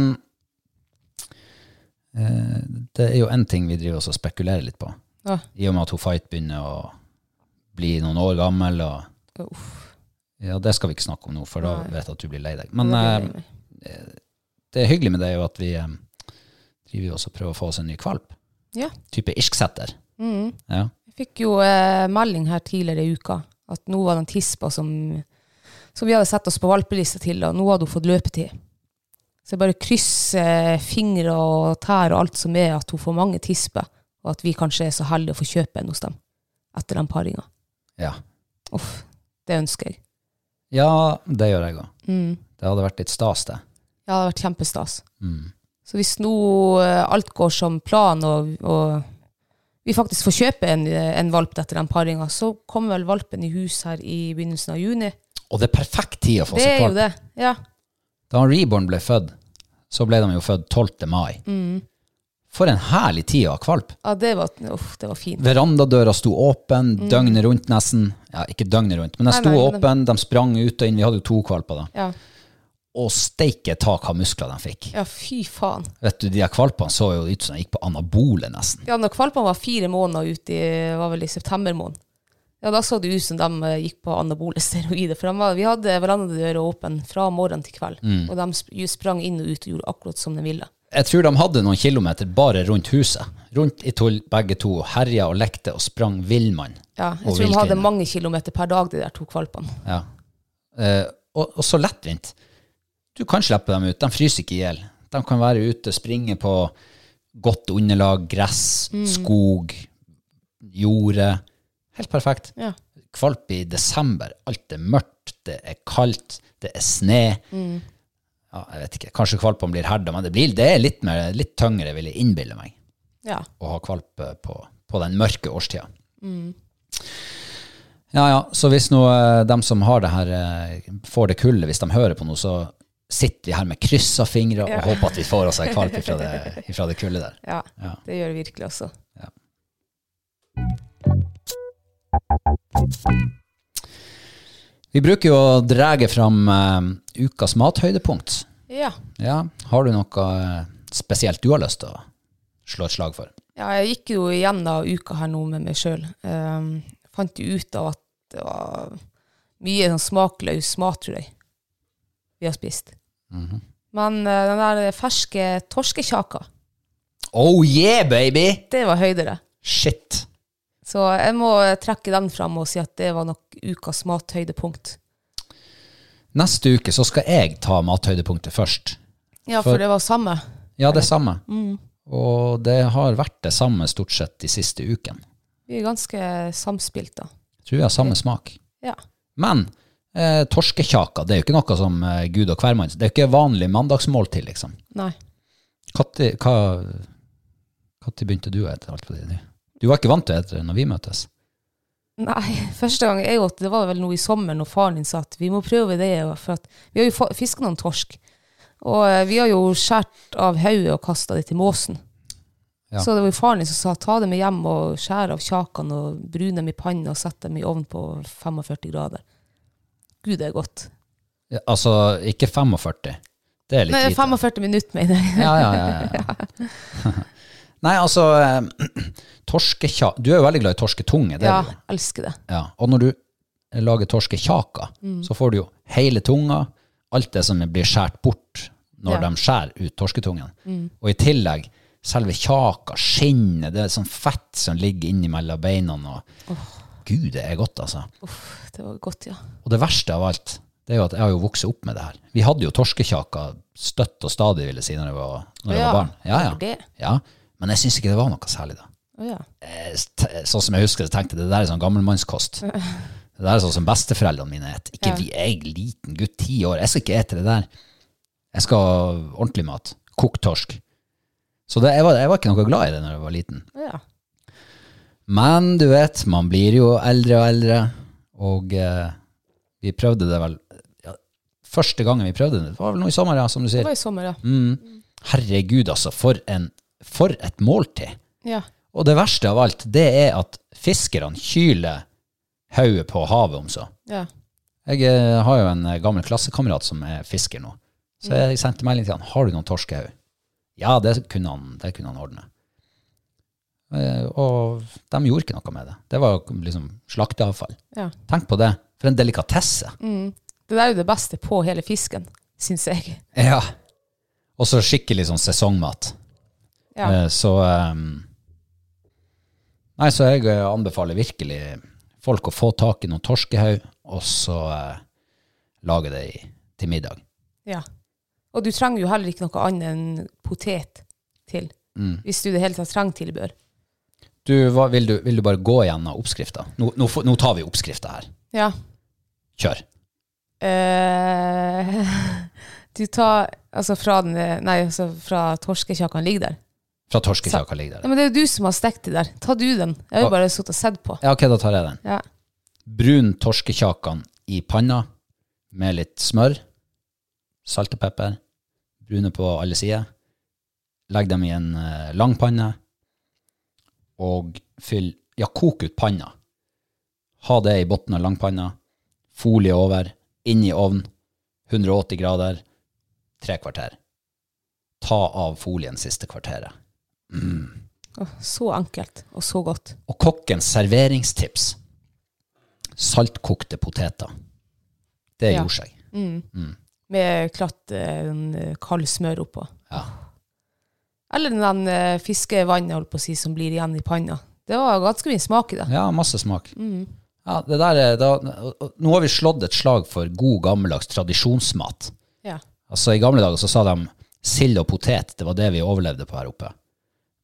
eh, det er jo en ting vi driver oss og spekulerer litt på.
Ja,
I og med at hun Fight begynner å bli noen år gammel. Og,
uff.
ja, det skal vi ikke snakke om nå, for da
Nei.
vet jeg at du blir lei deg. Men
det blir
ehm,
jeg med.
det er hyggelig med det er jo at vi ehm, driver jo også og prøver å få oss en ny kvalp.
Ja.
Type irsksetter. Ja.
Mm. Jeg fikk jo eh, melding her tidligere i uka, at nå var det en tispa som, som vi hadde sett oss på valpelista til, og nå hadde hun fått løpetid. Så jeg bare krysser fingre og tær og alt som er, at hun får mange tisper, og at vi kanskje er så heldige å få kjøpe en hos dem, etter den paringen.
Ja.
Uff, det ønsker jeg.
ja, det gjør jeg òg.
Mm.
Det hadde vært litt stas, det.
Ja, det hadde vært kjempestas.
Mm.
Så hvis nå eh, alt går som plan, og, og vi faktisk får kjøpe en, en valp etter den paringa, så kommer vel valpen i hus her i begynnelsen av juni.
Og det er perfekt tid å få
Det
seg
er jo
kvalp.
det. Ja.
Da han Reborn ble født, så ble de jo født 12. mai.
Mm.
For en herlig tid å ha kvalp.
ja det, var, uff, det var fint.
Verandadøra sto åpen døgnet rundt nesten. Ja, ikke døgnet rundt, men den
Mm. Nei,
sto
nei, men
åpen, de sprang ut og inn. Vi hadde jo to kvalper da.
Ja.
Og steike tak av muskler de fikk.
ja, fy faen.
Vet du, de her kvalpene så jo ut som de gikk på anabole nesten.
Ja, når valpene var fire måneder ute, i- var vel i september måned, ja, da så det ut som de eh, gikk på anabole steroider. For de var, vi hadde verandadøra åpen fra morgen til kveld, og de sp- sprang inn og ut og gjorde akkurat som de ville.
jeg tror de hadde noen kilometer bare rundt huset. Rundt i tull, begge to, og herja og lekte og sprang villmann.
Ja, jeg
Og
tror de hadde
villkvinne.
mange kilometer per dag, de der to valpene.
Ja. Eh, og, og så lettvint. Du kan slippe dem ut. De fryser ikke i hjel. De kan være ute, springe på godt underlag, gress, skog, jorde. Helt perfekt.
Ja.
Kvalp i desember. Alt er mørkt, det er kaldt, det er sne. Ja, jeg vet ikke. Kanskje kvalpene blir herda, men det, blir, det er litt, mer, litt tyngre, vil jeg innbille meg
Ja.
å ha kvalp eh, på, på den mørke årstida. Ja, ja, så hvis nå eh, dem som har det her, eh, får det kullet hvis de hører på noe, så sitter vi her med kryssa fingre og håper at vi får oss ei kvalp ifra det, ifra det kullet der.
ja.
Ja.
Det gjør det virkelig også.
Vi bruker jo å drage fram eh, ukas mathøydepunkt.
Ja.
Ja, har du noe eh, spesielt du har lyst til å slå et slag for?
Ja, jeg gikk jo igjennom uka her nå med meg sjøl. Um, fant jo ut av at det var mye sånn smakløs mat, tror jeg, vi har spist.
Mhm.
Men eh, den der ferske torskekjaka,
Oh yeah, baby!
det var høydere.
Shit.
Så jeg må trekke den fram og si at det var nok ukas mathøydepunkt.
Neste uke så skal jeg ta mathøydepunktet først.
Ja,
For-
for det var samme.
Ja, det samme.
Mm.
Og det har vært det samme stort sett de siste ukene.
Vi er ganske samspilt, da.
Jeg tror vi har samme smak.
Ja.
Men eh, torskekjaka, det er jo ikke noe som eh, gud og hvermann Det er jo ikke vanlig mandagsmåltid, liksom.
Nei.
Katti, hva Når begynte du å ete alt på det nå? Du var ikke vant til å ete det når vi møttes?
Nei, første gang jeg åt det, var vel noe i sommer når faren din sa at vi må prøve det. og For at vi har jo fa- fisket noen torsk, og eh, vi har jo skåret av hodet og kasta det til måsen.
Ja.
Så det var jo faren din som sa ta det med hjem og skjære av kjakene og brune dem i panna og sette dem i ovnen på 45 grader. Gud, det er godt.
Ja, altså, ikke 45. Det er litt
Nei,
lite.
45 minutter, mener jeg.
Ja, ja, ja, ja. Nei, altså eh, Torskekja... Du er jo veldig glad i torsketunge. Det
Ja,
er du. jo.
elsker det.
Ja, og når du lager torskekjaka,
Mm.
så får du jo hele tunga, alt det som blir skjært bort når
Ja. Mm.
de skjærer ut torsketungen. Og i tillegg selve kjaka, skinnet, det er sånn fett som ligger innimellom beina. Og, Gud, det er godt, altså.
Uff, det var godt, ja.
Og det verste av alt, det er jo at jeg har jo vokst opp med det her. Vi hadde jo torskekjaka støtt og stadig, vil jeg si, når jeg var, når jeg
Ja,
var barn. Ja,
hvorfor
ja.
det?
ja, men jeg syns ikke det var noe særlig, da
Å ja.
eh, t- sånn som jeg husker, så tenkte jeg det der er sånn gammelmannskost. Det der er sånn som besteforeldrene mine et. Ikke
Ja.
vi, jeg er liten gutt, ti år. Jeg skal ikke ete det der. Jeg skal ha ordentlig mat. Kokt torsk. Så det, jeg, var, jeg var ikke noe glad i det når jeg var liten.
Å ja.
Men du vet, man blir jo eldre og eldre, og eh, vi prøvde det vel ja, Første gangen vi prøvde det, det var vel nå i sommer, ja, som du
Det
sier.
var i sommer, ja.
Mm. Herregud, altså, for, en, for et måltid.
Ja,
Og det verste av alt, det er at fiskerne kyler hodet på havet om så.
ja.
Jeg eh, har jo en eh, gammel klassekamerat som er fisker nå. Så jeg sendte melding til han, har du noen torskehau? Ja, det kunne han, det kunne han ordne. Eh, Og de gjorde ikke noe med det. Det var jo liksom slakteavfall.
ja.
Tenk på det, for en delikatesse.
Det der er jo det beste på hele fisken, syns jeg.
Ja. Og så skikkelig sånn sesongmat.
Ja.
Eh, Så ehm, Nei, så jeg eh, anbefaler virkelig folk å få tak i noen torskehaug, og så eh, lage det i, til middag.
Ja. Og du trenger jo heller ikke noe annet enn potet til,
Mm.
hvis du i det hele tatt trenger tilbør.
Du, hva, vil, du, vil du bare gå gjennom oppskrifta? Nå, nå, får- nå tar vi oppskrifta her.
Ja.
Kjør.
Eh, du tar altså fra, den, nei, altså fra torskekjakan ligger der.
Fra torskekjaka ligger
Ja,
der.
men det er jo du som har stekt det der. Ta du den. Jeg
Hva?
har jo bare sittet og sett på.
Ja, ok, da tar jeg den.
Ja.
Brun torskekjakan i panna med litt smør, salt og pepper, brune på alle sider. Legg dem i en eh, lang panne, og fyll, ja, kok ut panna. Ha det i bunnen av langpanna, folie over, inn i ovn, 180 grader, tre kvarter. Ta av folien siste kvarteret.
Åh, Så enkelt og så godt.
Og kokkens serveringstips. Saltkokte poteter. Det
Ja.
gjorde seg.
Med klatt eh, en, eh, kald smør oppå.
Ja.
Eller den der, eh, fiskevannet, holdt på å si, som blir igjen i panna. Det var ganske mye smak i det.
Ja, masse smak.
Mm.
Ja, det der er, da, og- og nå har vi slått et slag for god, gammeldags tradisjonsmat.
Ja.
Altså, I gamle dager så sa de sild og potet, det var det vi overlevde på her oppe.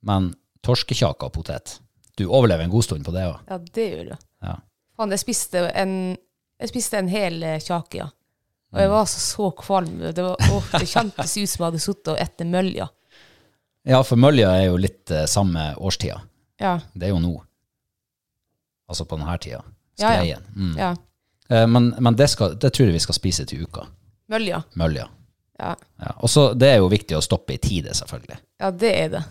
Men torskekjake og potet Du overlever en god stund på det òg.
Ja, det gjør det.
Ja.
Faen, jeg spiste en, jeg spiste en hel eh, kjake, ja. Og jeg var så, så kvalm. Det, var, åh, det kjentes ut som jeg hadde sittet og spist mølja.
ja, for mølja er jo litt eh, samme årstida.
Ja.
Det er jo nå. Altså på denne tida.
Ja, ja.
Skreien. Mm.
ja.
Eh, Men, men det, skal, det tror jeg vi skal spise til uka.
Mølja.
Mølja.
Ja.
Ja. Og så det er jo viktig å stoppe i tide, selvfølgelig.
ja, det er det.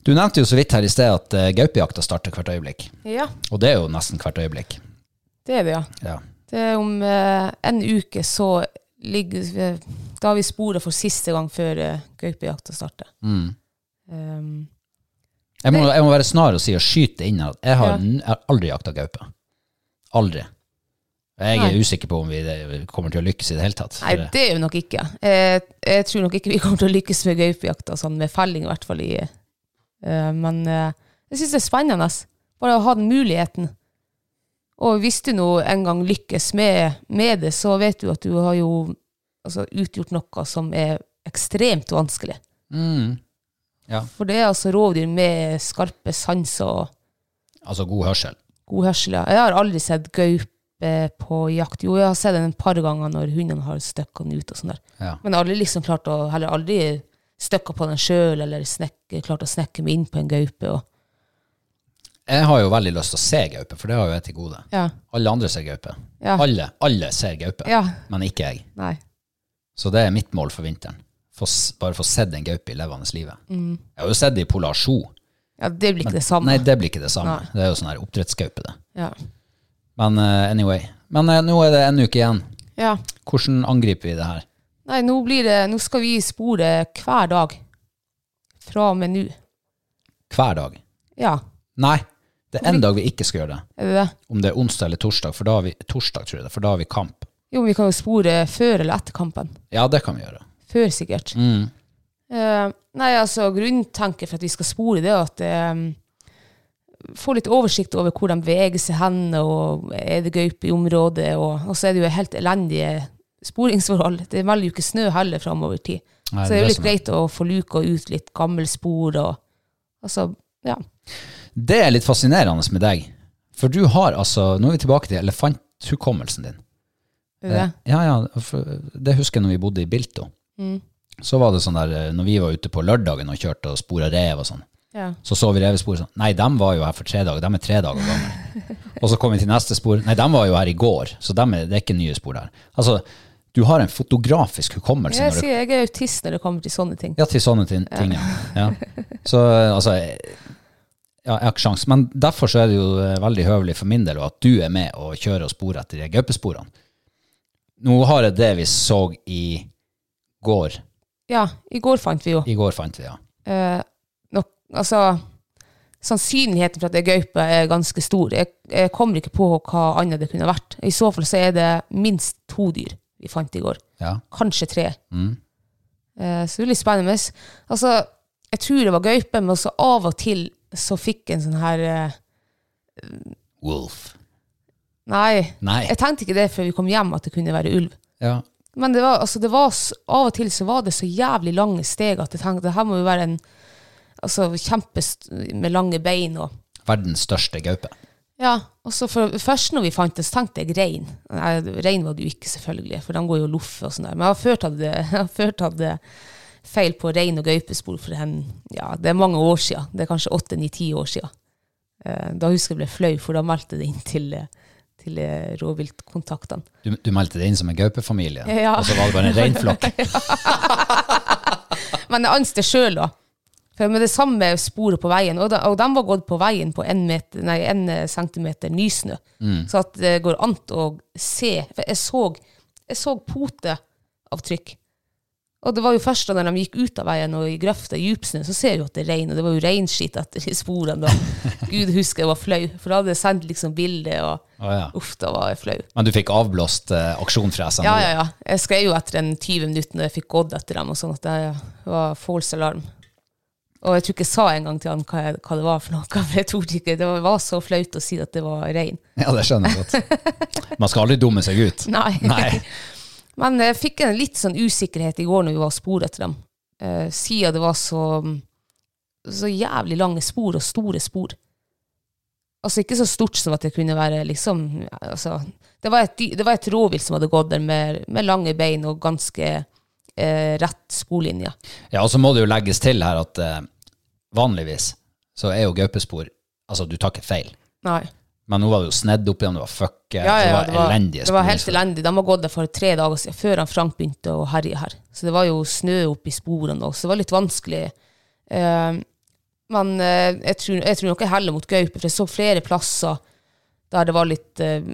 Du nevnte jo så vidt her i sted at eh, gaupejakta starter hvert øyeblikk.
Ja,
Og det er jo nesten hvert øyeblikk.
det er det, ja.
Ja.
Det er om eh, en uke så ligger vi- Da har vi sporet for siste gang før eh, gaupejakta starter.
Mm.
Um,
Jeg, må, jeg må være snar og si og skyte inn at jeg har,
Ja.
n- jeg har aldri jakta gaupe. Aldri. Jeg er
Nei.
usikker på om vi det- kommer til å lykkes i det hele tatt.
nei,
For-
det er jo nok ikke. Eh, jeg tror nok ikke vi kommer til å lykkes med gaupejakta, sånn med felling i hvert fall. I, eh, men eh, jeg syns det er spennende. Bare å ha den muligheten. Og hvis du nå en gang lykkes med, med det, så vet du at du har jo altså, utgjort noe som er ekstremt vanskelig.
Mm.
For det er altså rovdyr med skarpe sanser og
Altså god hørsel.
god hørsel. Ja. Jeg har aldri sett gaupe på jakt. Jo, jeg har sett den et par ganger når hundene har støkket den ut og sånn der.
Ja.
Men jeg har aldri liksom klart å, heller aldri støkket på den selv, eller snekke, klart å snekke meg inn på en gaupe. Og,
Jeg har jo veldig lyst til å se gaupe, for det har jo jeg til gode.
ja.
Alle andre ser gaupe.
Ja.
Alle, alle ser gaupe,
ja.
men ikke jeg.
Nei.
Så det er mitt mål for vinteren. Få s- bare få sett en gaupe i levende livet. Jeg har jo sett det i Polar Zoo.
Ja, det blir ikke Mm. det samme.
Nei, det blir ikke det samme.
Nei.
Det er jo sånn her oppdrettsgaupe, det.
Ja.
Men eh, anyway. Men eh, nå er det en uke igjen.
ja.
Hvordan angriper vi det her?
Nei, nå blir det, nå skal vi spore hver dag. Fra og med nå.
Hver dag?
Ja,
Nei, det er en dag vi ikke skal gjøre det.
er det det?
Om det er onsdag eller torsdag, for da har vi, torsdag, tror jeg det, for da har vi kamp.
Jo, men vi kan jo spore før eller etter kampen.
Ja, det kan vi gjøre.
Før sikkert.
Mm.
Eh, nei, altså grunntanken for at vi skal spore det, er at eh, få litt oversikt over hvor de beveger seg hen, og er det gaupe i området, og, og så er det jo helt elendige sporingsforhold. Det melder jo ikke snø heller framover tid.
Nei,
så det er jo litt
som er- sånn,
greit å få luka ut litt gamle spor og Altså, ja.
Det er litt fascinerende med deg. For du har altså Nå er vi tilbake til elefanthukommelsen din.
Det, er det.
Eh, Ja, ja, for det husker jeg når vi bodde i Bilto. Så var det sånn der, eh, når vi var ute på lørdagen og kjørte og spora rev og sånn,
Ja.
så så vi revespor sånn, nei, dem var jo her for tre dager, dem er tre dager gamle. og så kom vi til neste spor, nei, dem var jo her i går, så dem er, det er ikke nye spor der. Altså, du har en fotografisk hukommelse når
Jeg,
det,
sier, jeg er autist når det kommer til sånne ting.
ja, til sånne ting. ting, Ja. Ja. Så eh, altså, eh, ja, jeg har ikke sjans, men derfor så er det jo eh, veldig høvelig for min del og at du er med og kjører og sporer etter de gaupesporene. Nå har jeg det vi så i går,
Ja, i går fant vi jo
i går fant vi, ja.
eh, nok, altså, sannsynligheten for at det er gaupe er ganske stor. Jeg, jeg kommer ikke på hva annet det kunne vært. I så fall så er det minst to dyr vi fant i går.
Ja,
Kanskje tre.
Mm.
Eh, så det er litt spennende. Altså, jeg tror det var gaupe, men også av og til så fikk en sånn her eh,
Wolf.
Nei,
Nei.
jeg tenkte ikke det før vi kom hjem, at det kunne være ulv.
Ja,
Men det var, altså det var, s- av og til så var det så jævlig lange steg at jeg tenkte det her må jo være en altså, kjempe med lange bein. og
verdens største gaupe.
Ja, og så for, først når vi fant det, så tenkte jeg rein. Nei, rein var det jo ikke, selvfølgelig, for de går jo og loffer og sånn der. Men jeg har før tatt, jeg har før tatt eh, feil på rein og gaupespor for en, ja, det er mange år siden. Det er kanskje åtte, ni, ti år siden. Eh, Da husker jeg ble flau, for da meldte det inn til, eh, til eh, rovviltkontaktene.
Du, du meldte det inn som en gaupefamilie,
Ja.
og så var det bare en reinflokk.
Men jeg anste sjøl, da. For med det samme sporet på veien, og de, og de var gått på veien på en, meter, nei, en eh, centimeter nysnø. Så at det går an å se. For jeg så, jeg så poteavtrykk. Og det var jo først da når de gikk ut av veien og i grøfta i djupsnø, så ser du at det er rein, og det var jo reinskitt etter de sporene. da. Gud husker jeg var flau, for da hadde jeg sendt liksom bilde, og
Å, ja.
uff, da var jeg flau.
Men du fikk avblåst eh, aksjon fra SNL?
Ja, ja, ja. Jeg skrev jo etter en 20 minutter når jeg fikk gått etter dem, og sånn at det var false alarm. Og jeg tror ikke jeg sa engang til han hva, jeg, hva det var for noe, for jeg torde ikke. Det var- var så flaut å si at det var rein.
Ja, det skjønner jeg godt. Man skal aldri dumme seg ut.
Nei.
Nei.
Men jeg fikk en litt sånn usikkerhet i går når vi var og spor etter dem. Eh, siden det var så, så jævlig lange spor og store spor. Altså ikke så stort som at det kunne være liksom ja, altså, det, var et, dy- det var et rovvilt som hadde gått der med, med lange bein og ganske eh, rett sporlinje.
Ja, og så må det jo legges til her at eh, vanligvis så er jo gaupespor Altså, du tar ikke feil.
Nei.
Men nå var det jo snedd opp igjen, det var fucke,
Ja, ja,
det var elendige
det var helt
spor.
elendig. De har gått der for tre dager siden, før han Frank begynte å herje her. Så det var jo snø oppi sporene, og så det var litt vanskelig. Eh, men eh, jeg, tror, jeg tror nok jeg heller mot gaupe, for jeg så flere plasser der det var litt, eh,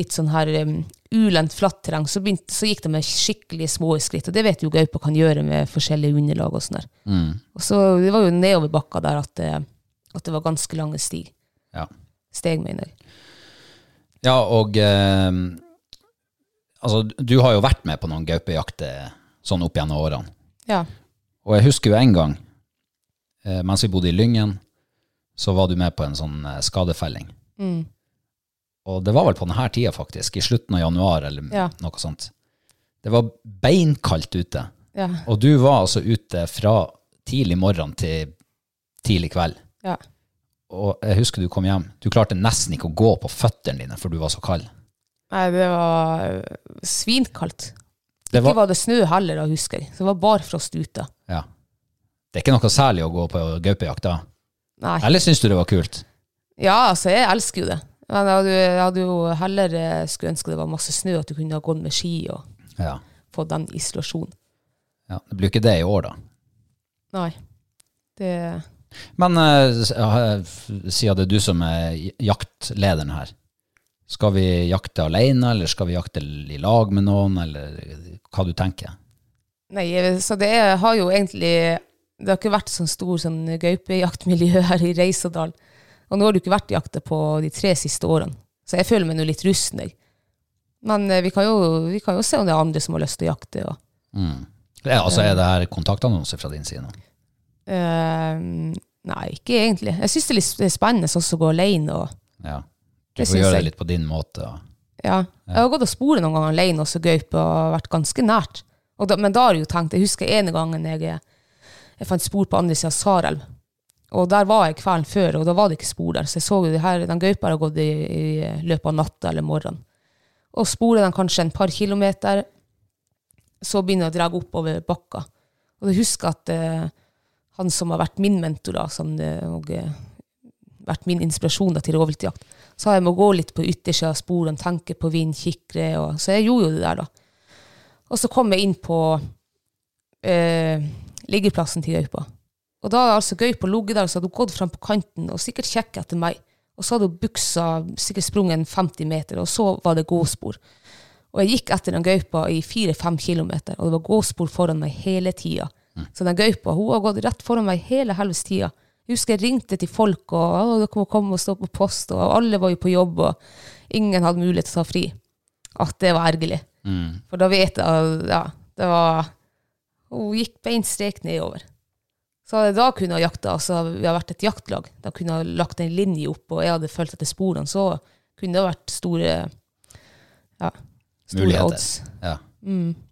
litt sånn her um, ulendt, flatt terreng. Så, begynte, så gikk de med skikkelig små skritt, og det vet jo gaupa kan gjøre med forskjellige underlag og sånn der.
Mm.
Og så det var jo nedoverbakka der at, det- at det var ganske lange stig.
Ja.
Steg, mener jeg.
ja, og eh, Altså, du har jo vært med på noen gaupejakter sånn opp gjennom årene.
Ja.
Og jeg husker jo en gang, eh, mens vi bodde i Lyngen, så var du med på en sånn eh, skadefelling.
Mm.
Og det var vel på denne tida, faktisk, i slutten av januar eller
Ja.
noe sånt. Det var beinkaldt ute,
Ja.
og du var altså ute fra tidlig morgen til tidlig kveld.
ja.
Og jeg husker du kom hjem. Du klarte nesten ikke å gå på føttene dine, for du var så kald.
Nei, det var eh, svinkaldt.
Det
Ikke
var,
var det snø heller, da, husker jeg. Så det var barfrost ute.
ja. det er ikke noe særlig å gå på gaupejakt da.
Nei.
Eller syns du det var kult?
Ja, altså, jeg elsker jo det. Men jeg hadde, jeg hadde jo heller eh, skulle ønske det var masse snø, at du kunne ha gått med ski og
Ja.
fått den isolasjonen.
ja. Det blir jo ikke det i år, da.
Nei. Det
Men eh, s- eh, f- siden det er du som er j- jaktlederen her, skal vi jakte alene, eller skal vi jakte l- i lag med noen, eller hva du tenker?
Nei, jeg- så det er, har jo egentlig Det har ikke vært sånn stor sånn gaupejaktmiljø her i Reisadal. Og nå har det jo ikke vært jakter på de tre siste årene, så jeg føler meg nå litt rusten, jeg. Men eh, vi kan, jo, vi kan jo se om det er andre som har lyst til å jakte. og
Mm. Ja, altså Er det her kontaktannonser fra din side? nå?
Eh, nei, ikke egentlig. Jeg syns det er litt sp- spennende også å gå alene. Og,
Ja. Du
Det
får
syns
gjøre
jeg.
det litt på din måte. og-
ja. Jeg har gått og sporet noen ganger alene også gaupe og vært ganske nært. Og da, men da har jeg jo tenkt Jeg husker ene gangen jeg, jeg fant spor på andre sida av Sarelv. Og der var jeg kvelden før, og da var det ikke spor der. Så jeg så jo det her, den gaupa har gått i, i løpet av natta eller morgenen. Og sporet den kanskje en par kilometer, så begynner jeg å dra oppover bakka. Og jeg husker at eh, han som har vært min mentor da, sånn, eh, og eh, vært min inspirasjon da, til rovviltjakt, sa jeg må gå litt på yttersida av sporene, tenke på vind, kikkere, og, så jeg gjorde jo det der da. Og så kom jeg inn på eh, liggeplassen til gaupa. Og da hadde altså gaupa ligget der, så hadde hun gått fram på kanten og sikkert kjekket etter meg. Og så hadde hun buksa sikkert sprunget en 50 meter, og så var det gåspor. Og jeg gikk etter den gaupa i 4-5 kilometer, og det var gåspor foran meg hele tida. Så den gaupa hun har gått rett foran meg hele helvetes tida. Jeg husker jeg ringte til folk, og «Å, dere må komme og stå på post, og alle var jo på jobb, og ingen hadde mulighet til å ta fri. At det var ergerlig. For da vet jeg at ja, det var Hun gikk beinstrek nedover. Så hadde jeg da kunne ha jakta, altså vi har vært et jaktlag, da kunne jeg ha lagt en linje opp, og jeg hadde fulgt etter sporene, så kunne det ha vært store ja, store
Muligheter.
odds. Mm.
Ja.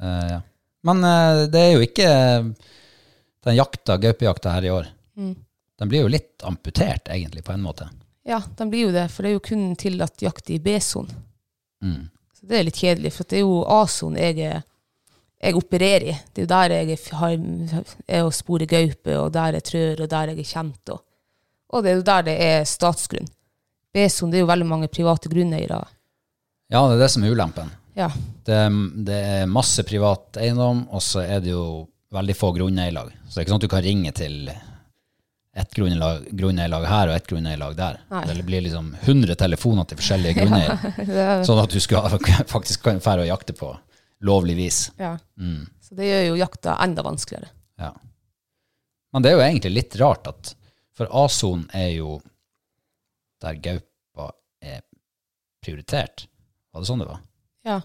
Eh, ja. Men eh, det er jo ikke den jakta, gaupejakta her i år.
Mm.
Den blir jo litt amputert, egentlig, på en måte.
Ja, den blir jo det, for det er jo kun tillatt jakt i B-sonen.
Mm.
Så det er litt kjedelig, for det er jo A-sonen jeg, er- jeg opererer i. Det er jo der jeg er f- har, er og sporer gaupe, og der jeg trør, og der jeg er kjent. Og, og det er jo der det er statsgrunn. B-sonen, det er jo veldig mange private grunneiere.
Ja, det er det som er ulempen.
Ja,
Det, det er masse privat eiendom, og så er det jo veldig få grunneierlag. Så det er ikke sånn at du kan ringe til ett grunneierlag grunneierlag her og ett grunneierlag der.
Nei.
Det blir liksom 100 telefoner til forskjellige grunneiere.
det er,
Sånn at du skal faktisk kan fære og jakte på lovlig vis. Mm,
Ja. Så det gjør jo jakta enda vanskeligere.
Ja. Men det er jo egentlig litt rart at For A-sonen er jo der gaupa er prioritert. Var det sånn det var?
Ja.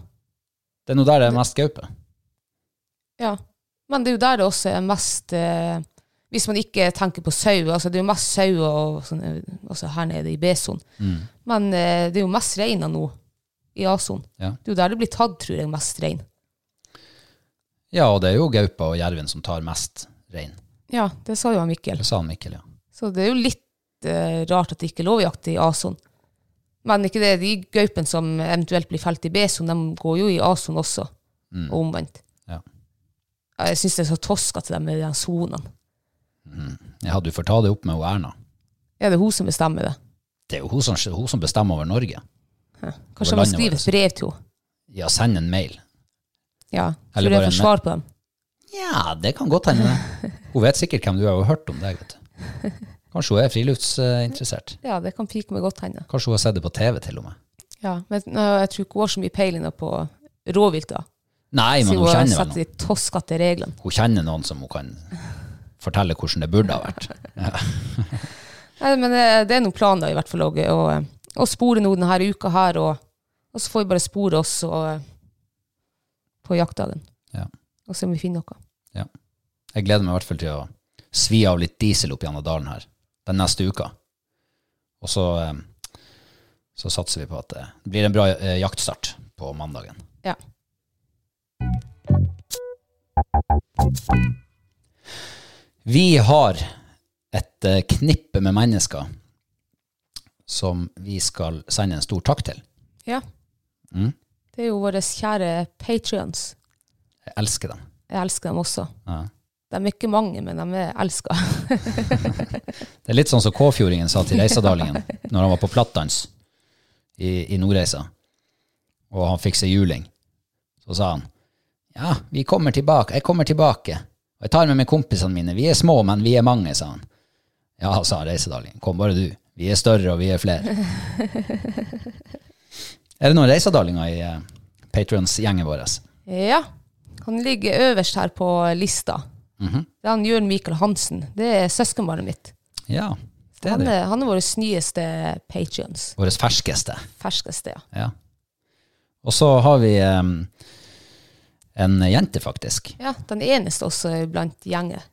Det er nå der det er mest gaupe.
ja. Men det er jo der det også er mest eh, Hvis man ikke tenker på sau, altså det er jo mest sau og sånn, eh, altså her nede i B-sonen.
Mm.
Men eh, det er jo mest reiner nå i A-sonen.
Ja.
Det er jo der det blir tatt, tror jeg, mest rein.
ja, og det er jo gaupa og jerven som tar mest rein.
Ja, det sa jo han Mikkel.
Det sa han Mikkel, ja.
Så det er jo litt eh, rart at det ikke er lov å jakte i A-sonen. Men ikke det, de gaupene som eventuelt blir felt i B-sonen, de går jo i A-sonen også, og omvendt.
Mm. Ja.
Ja, Jeg syns det er så toskete med de her sonene.
Jeg hadde jo fått ta det opp med hun Erna.
Er det hun som bestemmer det?
Det er jo hun som, hun som bestemmer over Norge.
Kanskje
Over
man
landet
skriver
vårt. altså.
et brev til henne?
Ja, send en mail.
Ja.
Eller
Tror du jeg
bare
får
en-
svar på dem?
Ja, det kan godt hende. Hun vet sikkert hvem du er og har hørt om deg, vet du. Kanskje hun er friluftsinteressert.
Ja, det kan pike meg godt hende.
Kanskje hun har sett det på TV til og med.
Ja, men nå, jeg tror ikke hun har så mye peiling da på rovvilt, da.
Nei, men
Siden
hun
hun har
kjenner vel
satt
noen.
de toskete reglene.
Hun kjenner noen som hun kan fortelle hvordan det burde ha vært.
Nei, men det, det er noen planer i hvert fall Åge, å, å spore noe denne uka her, og, og så får vi bare spore oss og, på jaktdagen.
Ja.
Og se om vi finner noe.
Ja. Jeg gleder meg i hvert fall til å svi av litt diesel opp gjennom dalen her den neste uka. Og så, eh, så satser vi på at det blir en bra eh, jaktstart på mandagen.
Ja.
Vi har et eh, knippe med mennesker som vi skal sende en stor takk til.
ja.
Mm.
Det er jo våre kjære patrions.
Jeg elsker dem.
Jeg elsker dem også.
Ja.
De er ikke mange, men de er elska.
Det er litt sånn som Kåfjordingen sa til Reisadalingen når han var på plattdans i, i Nordreisa, og han fikk seg juling. Så sa han ja, vi kommer tilbake, jeg kommer tilbake, og jeg tar med meg kompisene mine, vi er små, men vi er mange, sa han. Ja, sa Reisadalingen, kom bare du, vi er større og vi er flere. Er det noen reisadalinger i eh, Patrons-gjengen vår?
Ja. Han ligger øverst her på lista.
Mhm.
Det er han Jørn Mikael Hansen. Det er søskenbarnet mitt.
Ja, det er
Han
det.
er, han er vår nyeste patrions.
Våre ferskeste.
Ferskeste, ja.
Ja. Og så har vi em, en jente, faktisk.
Ja, Den eneste også blant gjengen.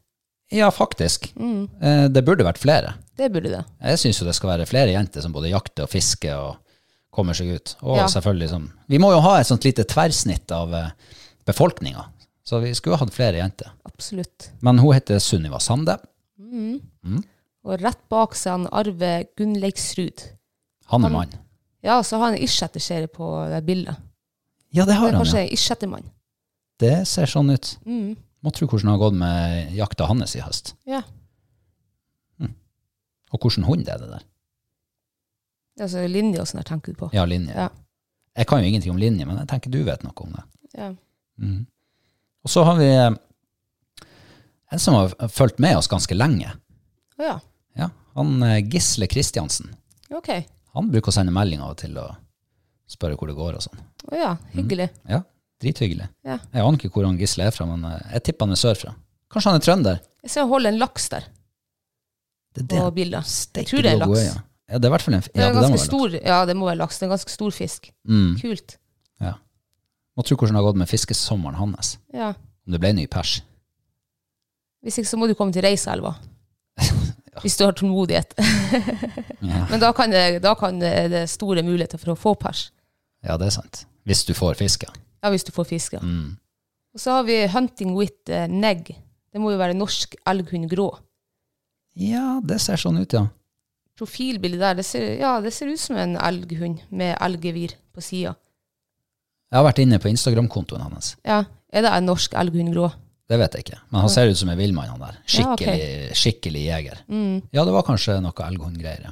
Ja, faktisk.
Mm.
Eh, det burde vært flere.
Det burde det.
Jeg syns jo det skal være flere jenter som både jakter og fisker og kommer seg ut. Og
Ja.
selvfølgelig som Vi må jo ha et sånt lite tverrsnitt av eh, befolkninga, så vi skulle ha hatt flere jenter.
Absolutt.
Men hun heter Sunniva Sande.
Og rett bak seg han Arve Gunnleiksrud.
Han er mann.
Ja, så har han en irsæterserie på det bildet.
Ja, det
Det
har
er Mm.
han,
kanskje
ja.
en irsætermann.
Det ser sånn ut. Må tro hvordan det har gått med jakta hans i høst.
Ja.
Og hvordan hund er det der.
Det er altså linje og sånn her, tenker du på.
Ja, linje.
Ja.
Jeg kan jo ingenting om linje, men jeg tenker du vet noe om det.
Ja. Mm.
Og så har vi eh, en som har fulgt med oss ganske lenge.
Å ja.
Ja, han eh, Gisle Kristiansen.
Ok.
Han bruker å sende melding av og til og spørre hvor det går og sånn.
Å ja. Hyggelig.
Ja, drithyggelig.
Ja.
Jeg aner ikke hvor han Gisle er fra, men eh, jeg tipper han er sørfra. Kanskje han er trønder?
Jeg ser han holder en laks der
Det er det.
på bildet. Jeg
Steike
tror det er
blå gode
laks.
øyne. Ja, det er i hvert fall en f-
Det
ja,
er
det der må
ganske
være laks.
stor, ja, det må være laks. Det er en ganske stor fisk.
Mm.
Kult.
Må tro hvordan det har gått med fiskesommeren hans.
Ja.
Om det ble ny pers.
Hvis ikke så må du komme til Reiselva. Hvis du har tålmodighet.
Ja.
Men da kan, det, da kan det det er store muligheter for å få pers.
ja, det er sant. Hvis du får fiske.
Ja, hvis du får fiske.
Mm.
Og så har vi Hunting with eh, Neg. Det må jo være norsk elghund grå.
Ja, det ser sånn ut, ja.
Profilbildet der, det ser, ja, det ser ut som en elghund med elgevir på sida.
Jeg har vært inne på Instagram-kontoen hans.
Ja, er det en norsk elghund grå?
Det vet jeg ikke. Men han ser ut som en villmann, han der.
Ja, ok. Mm.
Skikkelig, skikkelig jeger. Ja, det var kanskje noe elghundgreier, ja.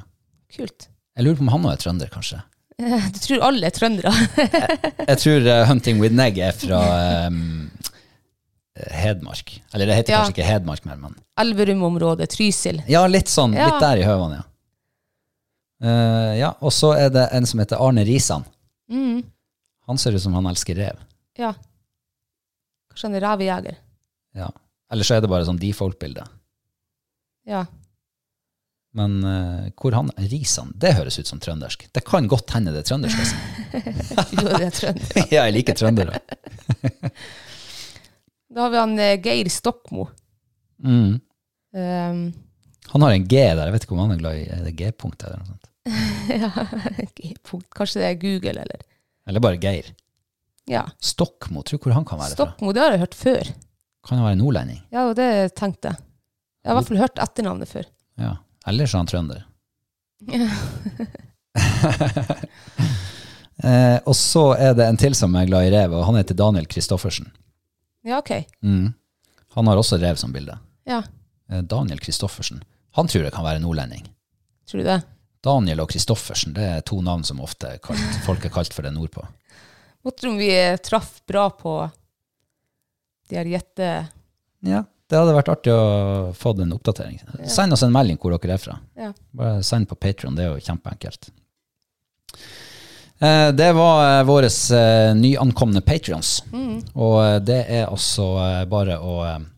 Kult.
Jeg lurer på om han også er trønder, kanskje.
Du tror alle er trøndere?
Jeg tror eh, Hunting with Neg er fra em, Hedmark. Eller det heter
Ja.
kanskje ikke Hedmark mer, men
Elverumområdet, Trysil.
Ja, litt sånn.
Ja.
Litt der i høvene, ja. Eh, ja, og så
Mm.
er det en som heter Arne Risan. Han ser ut som han elsker rev.
Ja. Skjønner, revejeger.
Ja. Eller så er det bare sånn default-bilde.
Ja.
Men eh, hvor han Risan, det høres ut som trøndersk. Det kan godt hende det er trøndersk. altså.
Jo, det er trønder.
ja, jeg liker trøndere.
Da har vi han eh, Geir Stokmo.
Mm.
Um,
Han har en G der, jeg vet ikke om han er glad i er det G-punkt eller noe sånt.
ja, G-punkt. Kanskje det er Google, eller?
Eller bare Geir.
Ja.
Stokkmo, tror du hvor han kan være fra?
Stokmo, det har jeg hørt før.
Kan han være nordlending?
Ja, og det tenkte jeg. Jeg har i hvert fall hørt etternavnet før.
Ja. Ellers er han trønder. eh, og så er det en til som er glad i rev, og han heter Daniel Kristoffersen.
Ja, ok.
Mm. Han har også rev som bilde.
Ja,
Eh, Daniel Kristoffersen. Han tror jeg kan være nordlending.
tror du det?
Daniel og Kristoffersen det er to navn som ofte er kalt, folk er kalt for det nordpå.
Måtte tro om vi eh, traff bra på de her gjette...
Ja, det hadde vært artig å få en oppdatering. Send oss en melding hvor dere er fra.
Ja.
Bare send på Patreon, det er jo kjempeenkelt. Eh, Det var våre eh, nyankomne patrions. Og eh, det er altså eh, bare å eh,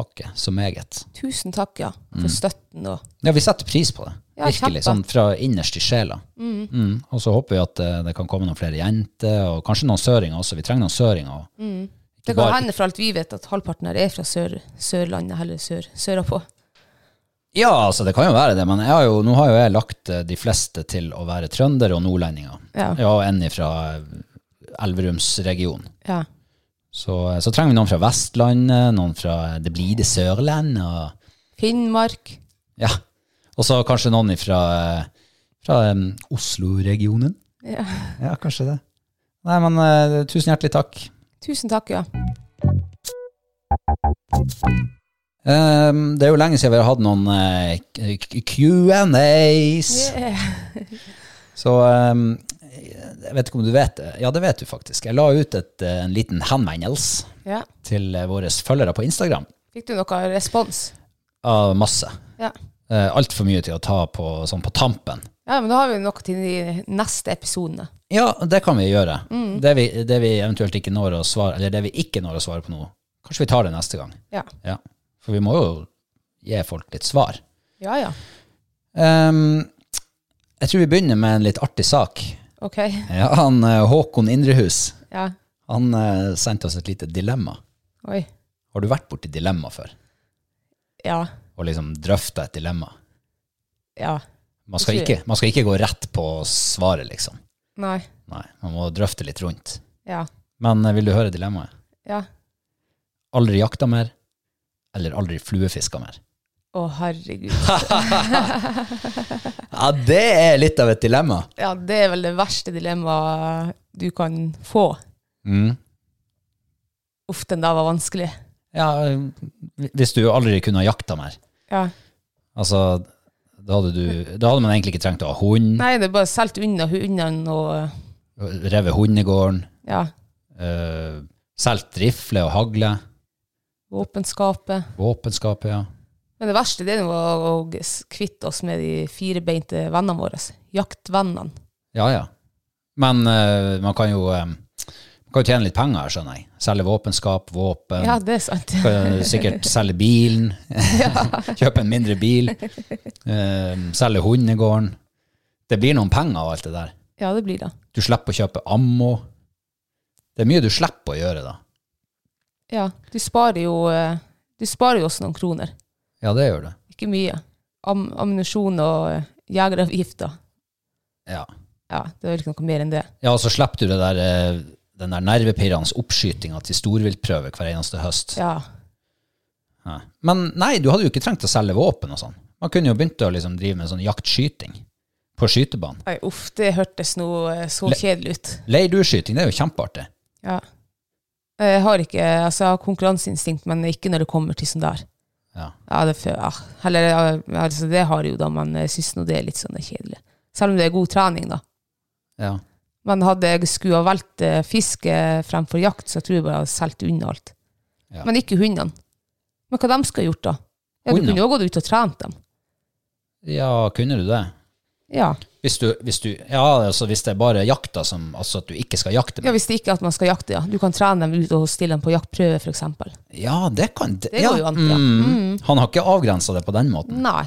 takke så meget.
Tusen takk, ja, for
Mm.
støtten og...
Ja, vi setter pris på det.
Ja,
Virkelig.
kjempe.
Sånn fra innerst i sjela. Mm. Og så håper vi at eh, det kan komme noen flere jenter, og kanskje noen søringer også. Vi trenger noen søringer.
Mm. Det
bare-
kan hende for alt vi vet at halvparten her er fra sør, Sørlandet, eller sør, sørapå.
Ja, altså det kan jo være det, men jeg har jo, nå har jo jeg lagt eh, de fleste til å være trøndere og nordlendinger.
Ja.
Ja, og en fra Elverumsregionen.
Ja.
Så, eh, så trenger vi noen fra Vestlandet, noen fra eh, det blide Sørland, og
Finnmark.
ja. Og så kanskje noen fra, fra em, Oslo-regionen.
Ja.
Ja, kanskje det. Nei, men eh, tusen hjertelig takk.
Tusen takk, ja.
Em, Ehm, det er jo lenge siden vi har hatt noen eh, k- k- Q&As. Så ehm, jeg vet ikke om du vet det. Ja, det vet du faktisk. Jeg la ut et, eh, en liten henvendelse
Ja.
til eh, våre følgere på Instagram.
Fikk du noe respons?
Av masse.
Ja.
Uh, Altfor mye til å ta på, sånn på tampen.
Ja, men da har vi noe til de neste episodene.
Ja, det kan vi gjøre. Det, vi, det vi eventuelt ikke når å svare, eller det vi ikke når å svare på nå, kanskje vi tar det neste gang.
Ja.
Ja. For vi må jo gi folk litt svar.
Ja, ja.
Ehm, jeg tror vi begynner med en litt artig sak.
Ok.
Ja, han eh, Håkon Indrehus,
Ja.
han eh, sendte oss et lite dilemma.
Oi.
Har du vært borti dilemma før?
Ja.
Og liksom drøfta et dilemma?
Ja.
Man skal,
Det tror
ikke, man skal ikke gå rett på svaret, liksom.
Nei.
Nei, man må drøfte litt rundt.
Ja.
Men eh, vil du høre dilemmaet?
Ja.
Aldri jakta mer, eller aldri fluefiska mer?
Å, herregud.
Ja, det er litt av et dilemma.
Ja, det er vel det verste dilemmaet du kan få.
Mm.
Uff, den der var vanskelig.
Ja, hvis du aldri kunne ha jakta mer.
Ja.
Altså, da hadde, du, da hadde man egentlig ikke trengt å ha hund,
Nei, det er bare solgt unna hundene og
revet hundegården,
ja,
øh, solgt rifle og hagle,
våpenskapet.
våpenskapet, ja.
Men det verste det er jo å å kvitte oss med de firebeinte vennene våre. Jaktvennene.
Ja, ja. Men øh, man kan jo øh, man kan jo tjene litt penger, her, skjønner jeg. Selge våpenskap, våpen.
Ja, det er sant.
Kan jo sikkert selge bilen, kjøpe en mindre bil, øh, selge hundegården. Det blir noen penger av alt det der.
Ja, det blir det.
Du slipper å kjøpe ammo. Det er mye du slipper å gjøre, da.
Ja. Du sparer jo eh, Du sparer jo oss noen kroner.
Ja, det gjør du.
Ikke mye. Am ammunisjon og eh, jegeravgifter.
Ja,
Ja, det er vel ikke noe mer enn det.
ja og så slipper du det der, eh, den der nervepirrende oppskytinga til storviltprøve hver eneste høst.
Ja.
Ja. Men nei, du hadde jo ikke trengt å selge våpen og sånn. Man kunne jo begynt å liksom drive med sånn jaktskyting på skytebanen.
Nei, uff, det hørtes nå eh, så
Le-
kjedelig ut.
Leirdueskyting, det er jo kjempeartig.
Ja. Jeg har ikke Altså, jeg har konkurranseinstinkt, men ikke når det kommer til sånn der.
Ja.
Ja, det, fø- ja. Eller, ja, altså, det har jeg jo, da, men jeg syns nå det er litt sånn kjedelig. Selv om det er god trening, da.
Ja.
Men hadde jeg skulle ha valgt eh, fiske fremfor jakt, så tror jeg bare jeg hadde solgt unna alt.
Ja.
Men ikke hundene. Men hva de skal ha gjort, da? Ja, du
Hundene?
kunne jo gått ut og trent dem.
ja, kunne du det?
Ja.
Hvis du, hvis du Ja, altså hvis det er bare jakta som Altså at du ikke skal jakte
ja,
med.
hvis det ikke er at man skal jakte, ja. Du kan trene dem ut og stille dem på jaktprøve, f.eks.
Ja, det kan Det,
Det
ja.
går jo an, ja.
Mm. Han har ikke avgrensa det på den måten.
Nei.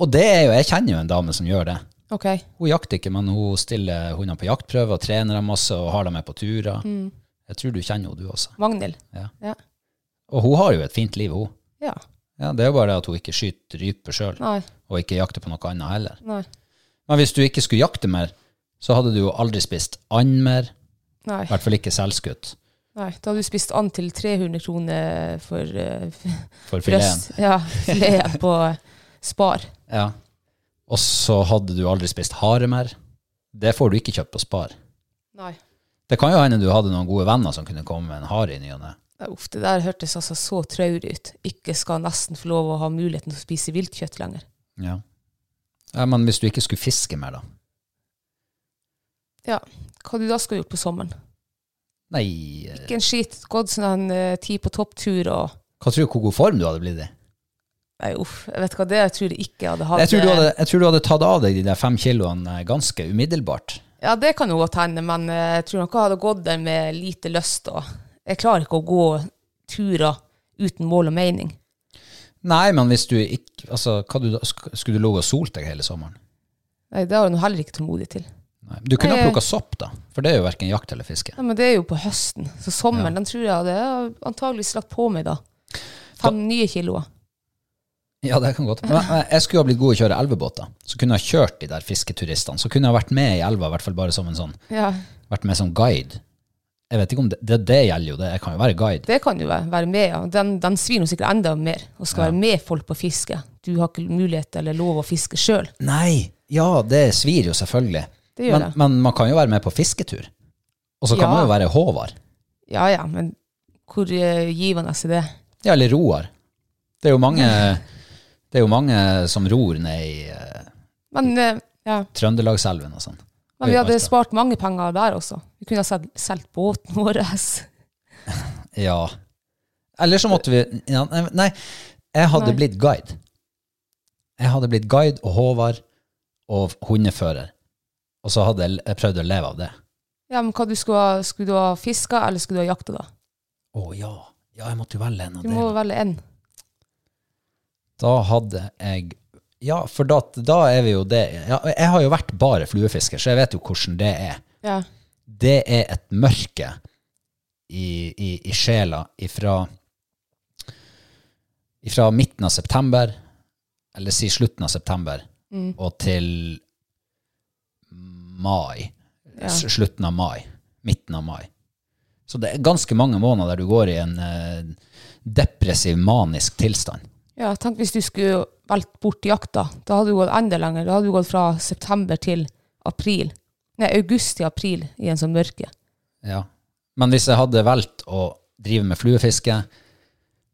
Og det er jo Jeg kjenner jo en dame som gjør det.
Ok.
Hun jakter ikke, men hun stiller hundene på jaktprøve og trener dem masse og har dem med på turer. Jeg tror du kjenner henne, du også.
Magnhild.
Ja.
Ja.
Og hun har jo et fint liv, hun.
ja.
Ja, det er jo bare det at hun ikke skyter rype sjøl,
Nei.
og ikke jakter på noe annet heller.
Nei.
Men hvis du ikke skulle jakte mer, så hadde du jo aldri spist and mer,
Nei.
i hvert fall ikke selvskutt,
Nei. Da har du spist and til 300 kroner for eh,
for fileten.
brøst. Ja, fileten på Spar.
Ja. Og så hadde du aldri spist hare mer. Det får du ikke kjøpt på Spar.
Nei.
Det kan jo hende du hadde noen gode venner som kunne komme med en hare i ny og ne.
Nei, Uff, det der hørtes altså så traurig ut. Ikke skal nesten få lov å ha muligheten til å spise viltkjøtt lenger.
Ja. ja, men hvis du ikke skulle fiske mer, da?
Ja, hva du da skal gjort på sommeren?
Nei, eh,
Ikke en skit, gått sånn en eh, ti på topptur og
hva tror du hvor god form du hadde blitt i?
Nei, uff, jeg vet hva det er, jeg tror jeg ikke jeg hadde hatt
Jeg tror du hadde, jeg tror du hadde tatt av deg de der fem kiloene eh, ganske umiddelbart.
eh, Ja, det kan jo godt hende, men eh, jeg tror nok jeg hadde gått der med lite lyst. Og jeg klarer ikke å gå turer uten mål og mening.
Nei, men hvis du ikke altså, hva du, da- sk- Skulle du ligget og solt deg hele sommeren?
Nei, det har jeg nå heller ikke tålmodighet til.
Nei. Du kunne
Nei,
ha
jeg-
plukka sopp, da, for det er jo verken jakt eller fiske.
Nei, men det er jo på høsten, så sommeren den tror jeg hadde jeg antageligvis lagt på meg da. Fem nye kiloer.
Ja, det kan godt Men men eh, Jeg skulle ha blitt god i å kjøre elvebåter. Så kunne jeg ha kjørt de der fisketuristene. Så kunne jeg ha vært med i elva, i hvert fall bare som en sånn
Ja,
Vært med som guide. Jeg vet ikke om det, det, det gjelder jo, det. Jeg kan jo være guide.
det kan jo være være med. Ja. Den, den svir nå sikkert enda mer, og skal være med folk på fiske. Du har ikke mulighet eller lov å fiske sjøl.
Nei! Ja, det svir jo selvfølgelig.
Det gjør
Men,
det.
men man kan jo være med på fisketur. Og så kan
Ja.
man jo være Håvard.
Ja ja, men hvor eh, givende er det?
Ja, eller Roar. Det er jo mange, det er jo mange som ror ned i eh,
Men, eh, ja.
Trøndelagselven og sånn.
Men vi hadde
Øymarka.
spart mange penger der også. Vi kunne ha solgt- solgt båten vår.
Ja. Eller så måtte vi ja, nei, Nei, jeg hadde
Nei.
blitt guide. Jeg hadde blitt guide og Håvard og hundefører. Og så hadde jeg, jeg prøvd å leve av det.
Ja, men hva du skulle, ha- skulle du ha fiska, eller skulle du ha jakta, da?
Å ja. Ja, jeg måtte jo velge en av
Du må
delene.
velge en.
Da hadde jeg Ja, for da, da er vi jo det ja, Jeg har jo vært bare fluefisker, så jeg vet jo hvordan det er.
Ja.
det er et mørke i, i, i sjela ifra, ifra midten av september, eller si slutten av september, og til mai. S- Slutten av mai. Midten av mai. Så det er ganske mange måneder der du går i en eh, depressiv, manisk tilstand.
ja, tenk hvis du skulle valgt bort jakta. Da hadde du gått enda lenger. Da hadde du gått fra september til april. Nei, august til april i en sånn mørke.
Ja. Men hvis jeg hadde valgt å drive med fluefiske,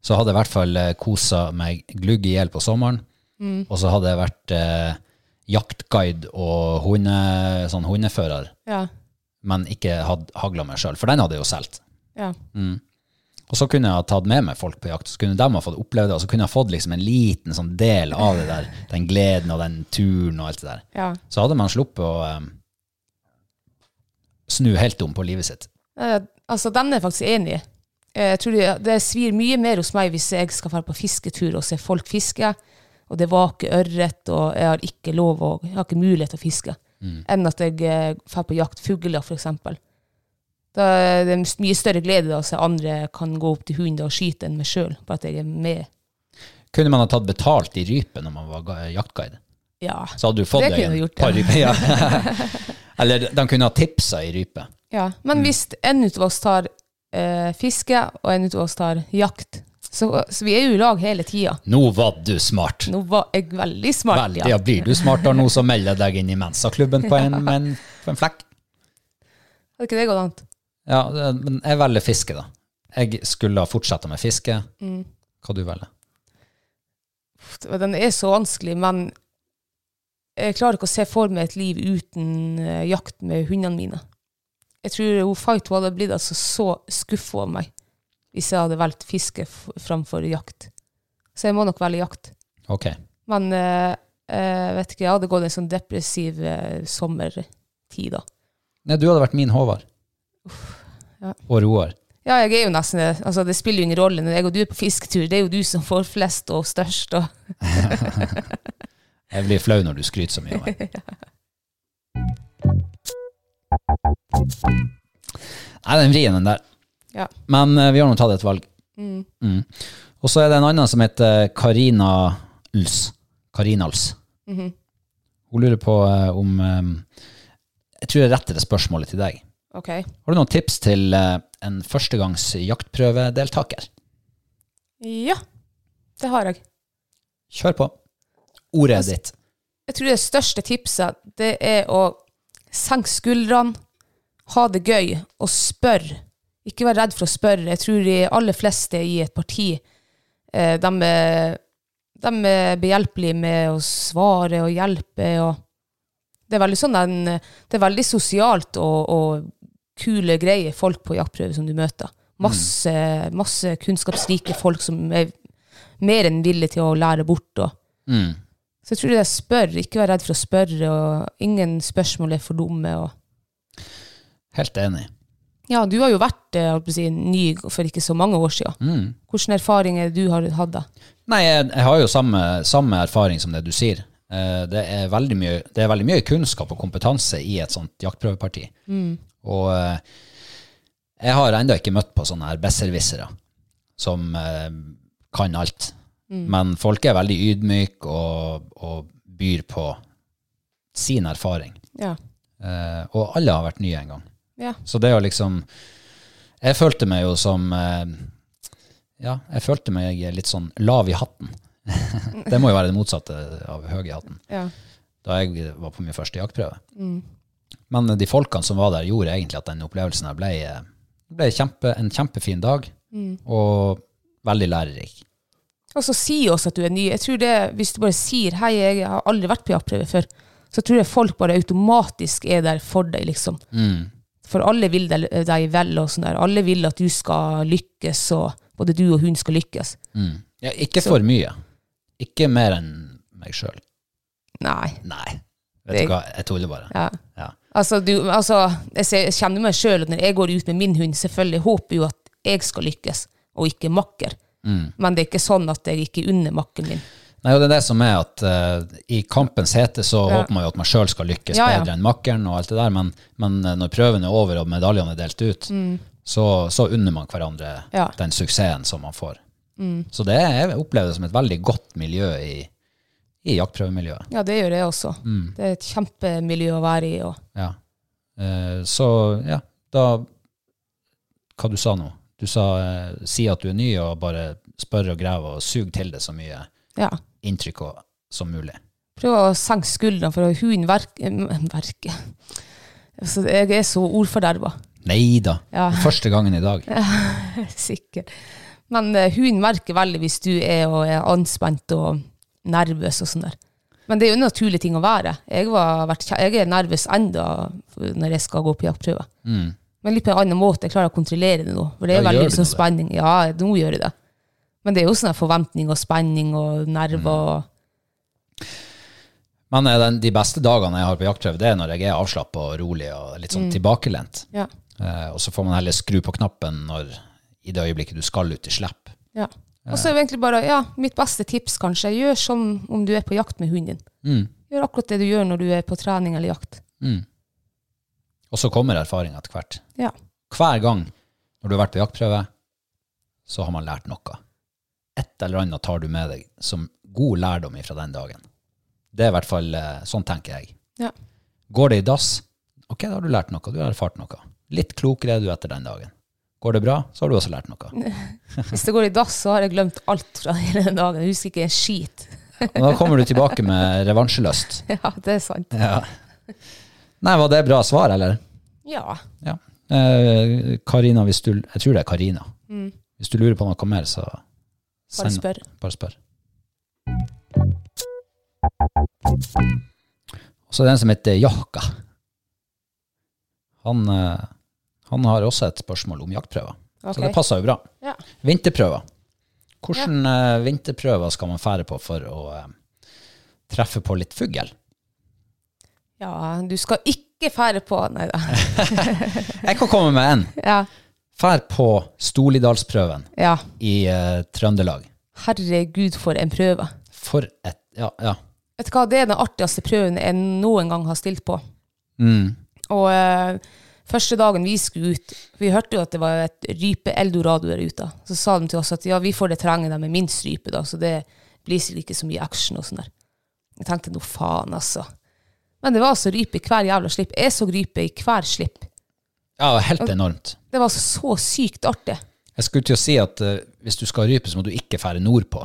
så hadde jeg i hvert fall eh, kosa meg glugg i hjel på sommeren. Og så hadde jeg vært eh, jaktguide og hunde, sånn hundefører,
Ja.
men ikke hatt hagla meg sjøl, for den hadde jeg jo solgt.
ja.
Og så kunne jeg ha tatt med meg folk på jakt, så kunne de ha fått oppleve det, og så kunne jeg ha fått liksom en liten sånn del av det der, den gleden og den turen og alt det der.
ja.
Så hadde man sluppet å eh, snu helt om på livet sitt.
Eh, altså, den er jeg faktisk enig i. Eh, Jeg tror det, det svir mye mer hos meg hvis jeg skal dra på fisketur og se folk fiske, og det vaker ørret, og jeg har ikke lov og jeg har ikke mulighet til å fiske, enn at jeg eh, drar på jakt fugler, for eksempel. Da er det mye- mye større glede da, å se andre kan gå opp til hunden og skyte enn meg sjøl, bare at jeg er med.
Kunne man ha tatt betalt i rype når man var ga- jaktguide?
Ja.
Så hadde du fått
Det
deg
kunne
en
du gjort,
par
ja.
ryper. Ja. Eller de kunne ha tipsa i rype.
ja. Men hvis en ut av oss tar eh, fiske, og en ut av oss tar jakt, så, så vi er jo i lag hele tida.
Nå var du smart!
Nå var jeg veldig smart,
Veldig, ja. Blir du smartere nå, så melder jeg deg inn i Mensa-klubben på, en- med en- på en flekk.
Hadde ikke det gått an?
Ja, det- men jeg velger fiske, da. Jeg skulle ha fortsette med fiske.
Mm.
Hva du velger?
Pff, Den er så vanskelig, men jeg klarer ikke å se for meg et liv uten eh, jakt med hundene mine. Jeg tror hun Fight hun hadde blitt altså så skuffa over meg hvis jeg hadde valgt fiske f framfor jakt. Så jeg må nok velge jakt.
Ok.
Men eh, Eh, vet ikke, jeg hadde gått en sånn depressiv eh, sommertid, da.
Nei, du hadde vært min Håvard.
ja.
Og Roar.
Ja, jeg er jo nesten det. Altså, det spiller jo ingen rolle når jeg og du er på fisketur. Det er jo du som får flest og størst. Og.
Jeg blir flau når du skryter så mye av meg. Nei, den vrien, den der.
Ja.
Men eh, vi har nå tatt et valg. Mm. Og så er det en annen som heter eh, Karina Uls. Karina Uls. Hun lurer på eh, om eh, Jeg tror jeg retter det spørsmålet til deg.
Ok.
Har du noen tips til eh, en førstegangs jaktprøvedeltaker?
Ja, det har jeg.
Kjør på. Ordet er ditt.
Jeg tror det største tipset, det er å senke skuldrene, ha det gøy, og spørre. Ikke vær redd for å spørre. Jeg tror de aller fleste i et parti, eh, de, er- de er behjelpelige med å svare og hjelpe. Og det er veldig sånn en, det er veldig sosialt og, og kule greie folk på jaktprøve som du møter. Masse, masse kunnskapsrike folk som er mer enn villige til å lære bort. og
Mm.
så jeg tror det er spør, ikke vær redd for å spørre, og ingen spørsmål er for dumme. Og
Helt enig.
ja, du har jo vært eh, holdt på å si, ny for ikke så mange år siden.
Mm.
Hvilke erfaringer du har hatt da?
Nei, jeg, jeg har jo samme, samme erfaring som det du sier. Eh, det, er veldig mye, det er veldig mye kunnskap og kompetanse i et sånt jaktprøveparti. Og eh, jeg har ennå ikke møtt på sånne her besserwissere som eh, kan alt. Men folk er veldig ydmyke og, og byr på sin erfaring.
Ja.
Eh, og alle har vært nye en gang.
Ja.
Så det å liksom Jeg følte meg jo som eh, Ja, jeg følte meg litt sånn lav i hatten. det må jo være det motsatte av høy i hatten,
ja.
da jeg var på min første jaktprøve.
Mm.
Men de folkene som var der, gjorde egentlig at den opplevelsen her ble, eh, ble kjempe, en kjempefin dag,
Mm.
og veldig lærerik.
Og så si oss at du er ny. Jeg tror det, Hvis du bare sier 'hei, jeg har aldri vært på jaktprøve før', så tror jeg folk bare automatisk er der for deg, liksom. For alle vil deg, deg vel, og sånn der. Alle vil at du skal lykkes, og både du og hun skal lykkes.
Mm. Ja, ikke for mye. Ikke mer enn meg sjøl.
Nei.
Nei. Vet
Det-
du hva, jeg tuller bare.
Ja.
Ja.
Altså, du, altså jeg, ser, jeg kjenner meg sjøl når jeg går ut med min hund. Selvfølgelig jeg håper jo at jeg skal lykkes, og ikke makker.
Mm.
Men det er ikke sånn at jeg ikke unner makken min.
Nei, og det er det som er at eh, i kampens hete så
Ja.
håper man jo at man sjøl skal lykkes
Ja, ja.
bedre enn makkeren og alt det der, men, men eh, når prøven er over og medaljene er delt ut, så, så unner man hverandre
Mm. Ja. Mm.
den suksessen som man får. Så det er, jeg opplever det som et veldig godt miljø i, i jaktprøvemiljøet.
Ja, det gjør jeg også. Det er et kjempemiljø å være i. Og,
Ja. Eh, så ja, da Hva du sa nå? Du sa eh, si at du er ny, og bare spør og grev og sug til det så mye
ja.
inntrykk og, som mulig.
Prøv å senke skuldrene, for hunden verker verke. altså, Jeg er så ordforderva.
Nei da.
Ja.
Første gangen i dag.
Sikkert. Men eh, hunden merker veldig hvis du er, og er anspent og nervøs og sånn der. Men det er jo en naturlig ting å være. Jeg, var, vært, kje- jeg er nervøs enda når jeg skal gå på jaktprøve. Men litt på en annen måte. Jeg klarer å kontrollere det nå. For det er
Mm. Ja, gjør
veldig
du
sånn
det?
spenning. Ja, nå gjør jeg det. Men det er jo sånn her forventning og spenning og
Mm.
nerver. og-
Men eh, den, de beste dagene jeg har på jaktprøve, det er når jeg er avslappa og rolig og litt sånn tilbakelent.
Ja.
Eh, og så får man heller skru på knappen når, i det øyeblikket du skal ut i slipp.
ja. Og så er det egentlig bare ja, mitt beste tips, kanskje. Gjør som om du er på jakt med hunden din.
Mm.
Gjør akkurat det du gjør når du er på trening eller jakt.
Og så kommer erfaringa etter hvert.
Ja.
Hver gang når du har vært på jaktprøve, så har man lært noe. Et eller annet tar du med deg som god lærdom fra den dagen. Det er i hvert fall eh, sånn tenker jeg.
ja.
Går det i dass? Ok, da har du lært noe. Du har erfart noe. Litt klokere er du etter den dagen. Går det bra, så har du også lært noe.
Hvis det går i dass, så har jeg glemt alt fra hele den dagen. Jeg husker ikke en skit.
Og da kommer du tilbake med revansjelyst.
Ja, det er sant.
Nei, var det bra svar, eller?
Ja.
Ja. Eh, Karina, hvis du Jeg tror det er Karina. Hvis du lurer på noe mer, så
Mm. Bare
send-
spør.
Bare spør. Og så er det en som heter Jahka. Han, eh, han har også et spørsmål om jaktprøver. Så
Ok.
det passer jo bra.
Ja.
Vinterprøver. Hvilke vinterprøver skal man fære på for å, eh, treffer eh, på litt fugl.
Ja, du skal ikke fære på Nei da.
Jeg kan komme med en.
Ja.
Fær på Stolidalsprøven
ja.
i eh, Trøndelag.
Herregud, for en prøve.
For et Ja. ja.
Vet du hva, det er den artigste prøven jeg noen gang har stilt på.
Mm.
Og eh, første dagen vi skulle ut, vi hørte jo at det var et rype-eldorado der ute. Så sa de til oss at ja, vi får det terrenget der med minst rype, da, så det blir sikkert ikke så mye action og sånn der. Jeg tenkte nå faen, altså. Men det var altså rype i hver jævla slipp. Jeg så rype i hver slipp.
ja helt enormt.
Det var altså så sykt artig.
Jeg skulle til å si at eh, hvis du skal rype, så må du ikke fære nordpå.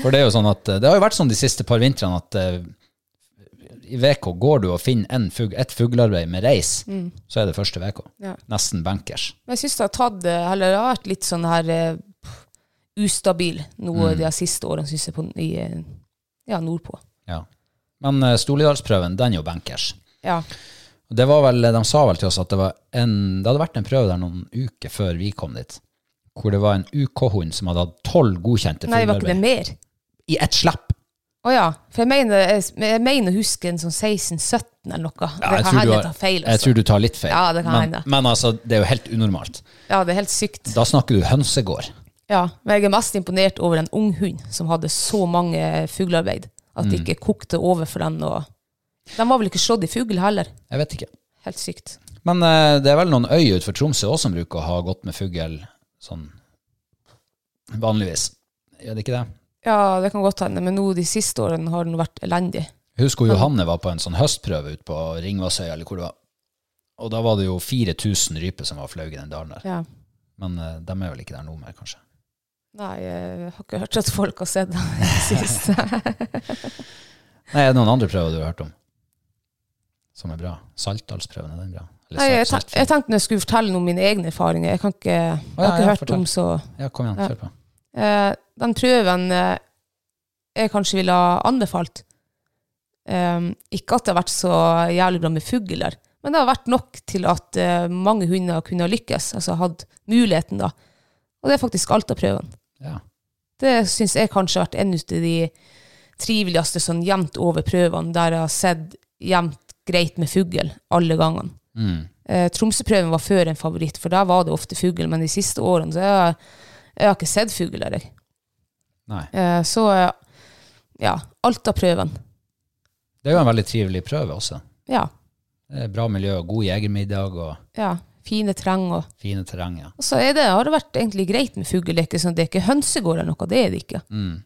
For det er jo sånn at eh, det har jo vært sånn de siste par vintrene at eh, i VK går du og finner en fug, et fuglearbeid med reis, så er det første VK.
Mm. Ja.
Nesten bankers.
Men jeg syns det har tatt eh, Eller det har vært litt sånn her eh, pff, ustabil noe de siste årene, syns jeg, på, i, eh, ja, nordpå.
Ja. Men eh, Stolidalsprøven, den er jo bankers.
Ja.
Og det var vel, De sa vel til oss at det, var en, det hadde vært en prøve der noen uker før vi kom dit, hvor det var en UK-hund som hadde hatt tolv godkjente
Nei, var ikke det
fuglearbeid
mer?
i ett slapp.
Å ja. For jeg mener, jeg, jeg mener å huske en sånn 16-17 eller noe.
Ja,
det
jeg
kan
tror du
hende
har-
jeg tar feil.
Jeg
Altså.
tror du tar litt feil.
Ja, det kan
men,
hende.
Men altså, det er jo helt unormalt.
Ja, det er helt sykt.
Da snakker du hønsegård.
Ja, Men jeg er mest imponert over en ung hund som hadde så mange fuglearbeid. At
Mm.
det ikke kokte over for den. Og... Den var vel ikke slått i fugl heller.
Jeg vet ikke.
Helt sykt.
Men eh, det er vel noen øy utenfor Tromsø også som bruker å ha gått med fugl sånn vanligvis. Er det ikke det?
Ja, det kan godt hende, men nå de siste årene har den vært elendig.
Jeg husker Johanne var på en sånn høstprøve ute på Ringvassøya, eller hvor det var. Og da var det jo 4000 ryper som var fløyet i den dalen der.
Ja.
Men eh, de er vel ikke der nå mer, kanskje.
Nei, eh, jeg har ikke hørt at folk har sett den i det siste.
Nei, Er det noen andre prøver du har hørt om? Som er bra? Saltdalsprøven, er den bra? Eller
Nei, jeg,
Salt-
ten- jeg tenkte når jeg skulle fortelle noe om mine egne erfaringer. Jeg, kan ikke, jeg
ja,
har ikke
ja,
hørt om så
Saltfjell? Ja, kom igjen,
Ja.
kjør på.
Eh, den prøven eh, jeg kanskje ville ha anbefalt eh, Ikke at det har vært så jævlig bra med fugler, men det har vært nok til at eh, mange hunder kunne ha lykkes, altså hatt muligheten, da. Og det er faktisk Alta-prøven.
Ja.
Det syns jeg kanskje har vært en av de triveligste sånn jevnt over prøvene, der jeg har sett jevnt greit med fugl alle gangene.
Mm.
Eh, Tromsøprøven var før en favoritt, for der var det ofte fugl, men de siste årene så har jeg, jeg har ikke sett fugl der. jeg.
Nei.
Eh, så eh, ja, Alta-prøven.
Det er jo en veldig trivelig prøve også.
Ja,
Det er bra miljø og god jegermiddag og
ja. Fine terreng. Og,
fine terreng. Ja.
og så er det, har det vært egentlig greit med fugl. Det er ikke sånn, at det er ikke hønsegård eller noe, det er det ikke.
Mm.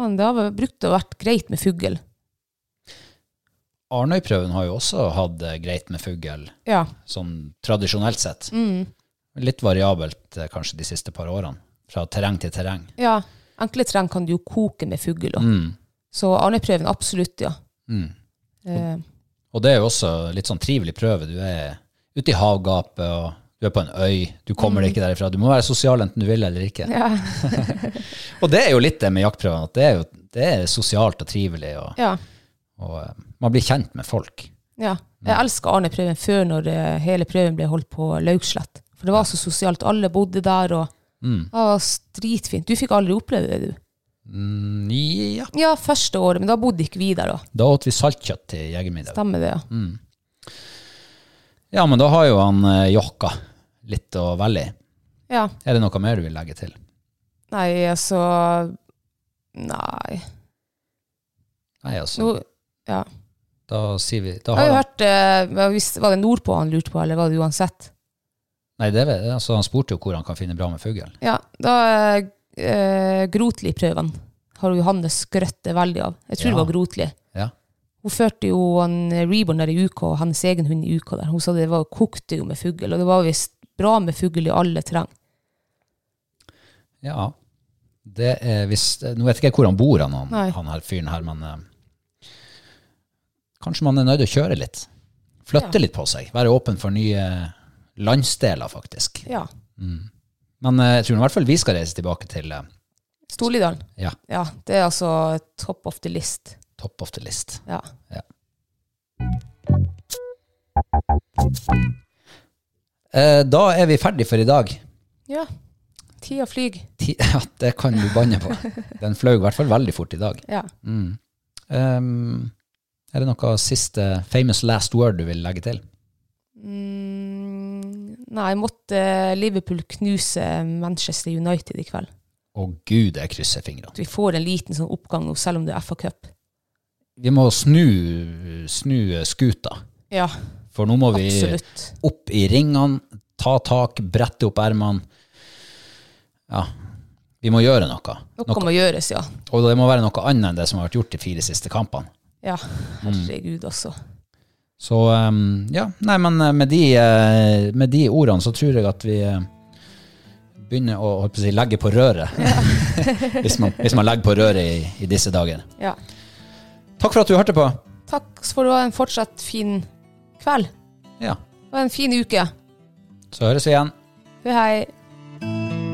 Men det har vel brukt å vært greit med fugl.
Arnøyprøven har jo også hatt det greit med fugl,
Ja.
sånn tradisjonelt sett.
Mm.
Litt variabelt eh, kanskje de siste par årene, fra terreng til terreng.
ja. Enkle terreng kan du jo koke med fugl. da.
Mm.
Så Arneprøven, absolutt, ja.
Mm.
Eh,
Og det er jo også litt sånn trivelig prøve. Du er ute i havgapet, og du er på en øy. Du kommer deg ikke derifra. Du må være sosial enten du vil eller ikke.
Mm. ja.
Og det er jo litt det med jaktprøvene, at det er, jo, det er sosialt og trivelig, og,
ja.
og eh, man blir kjent med folk.
Ja. Jeg elsker Arneprøven før når eh, hele prøven ble holdt på Laugslett. For det var så sosialt. Alle bodde der, og
Mm.
det var dritfint. Du fikk aldri oppleve det, du.
Mm, ja.
Ja, første året, men da bodde ikke vi der, da.
Da åt vi saltkjøtt til jegermiddag.
Stemmer det, ja.
Mm. Ja, men da har jo han eh, Jokka litt å velge i.
Ja.
Er det noe mer du vil legge til?
Nei, altså Nei.
Nei, altså,
Nå, ja.
da sier vi da har
Jeg har jo
han,
hørt eh, hva hvis- Var det nordpå han lurte på, eller var det uansett?
Nei, det vet, altså, han spurte jo hvor han kan finne bra med fugl.
Ja, da eh, Grotli-prøven har jo Johanne skrøtt det veldig av. Jeg tror
Ja.
det var Grotli.
Ja.
Hun førte jo han Reborn der i UK, og hennes egen hund i UK der. Hun sa det var, kokte jo med fugl, og det var visst bra med fugl i alle terreng.
Ja. Det er hvis, eh, nå vet ikke jeg hvor han bor, han,
Nei.
han, han her fyren her, men eh, kanskje man er nødt til å kjøre litt. Flytte
Ja.
litt på seg. Være åpen for nye landsdeler, faktisk.
Ja.
Men eh, jeg tror i hvert fall vi skal reise tilbake til eh,
Storlidalen.
ja,
Ja, det er altså top of the list.
top of the list.
Ja.
Eh, da er vi ferdig for i dag.
ja. Tida flyr.
Ti- Ja, det kan du banne på. Den fløy i hvert fall veldig fort i dag.
Ja.
Mm. Ehm, er det noe siste famous last word du vil legge til?
Mm, nei, måtte Liverpool knuse Manchester United i kveld.
Å gud, jeg krysser fingrene.
At vi får en liten sånn oppgang nå, selv om det er FA-cup.
Vi må snu, snu skuta,
Ja,
for nå må vi
absolutt.
opp i ringene, ta tak, brette opp ermene. Ja, vi må gjøre noe.
Noe,
noe.
må gjøres, ja.
Og det må være noe annet enn det som har vært gjort de fire siste kampene.
Ja, herregud, altså.
Så um, ja, nei, men eh, med de, eh, med de ordene så tror jeg at vi eh, begynner å holdt på å si, legge på røret. hvis, man, hvis man legger på røret i, i disse dager.
Ja.
Takk for at du hørte på.
Takk for å ha en fortsatt fin kveld.
Ja,
Og en fin uke.
så høres vi igjen.
Hei, hei.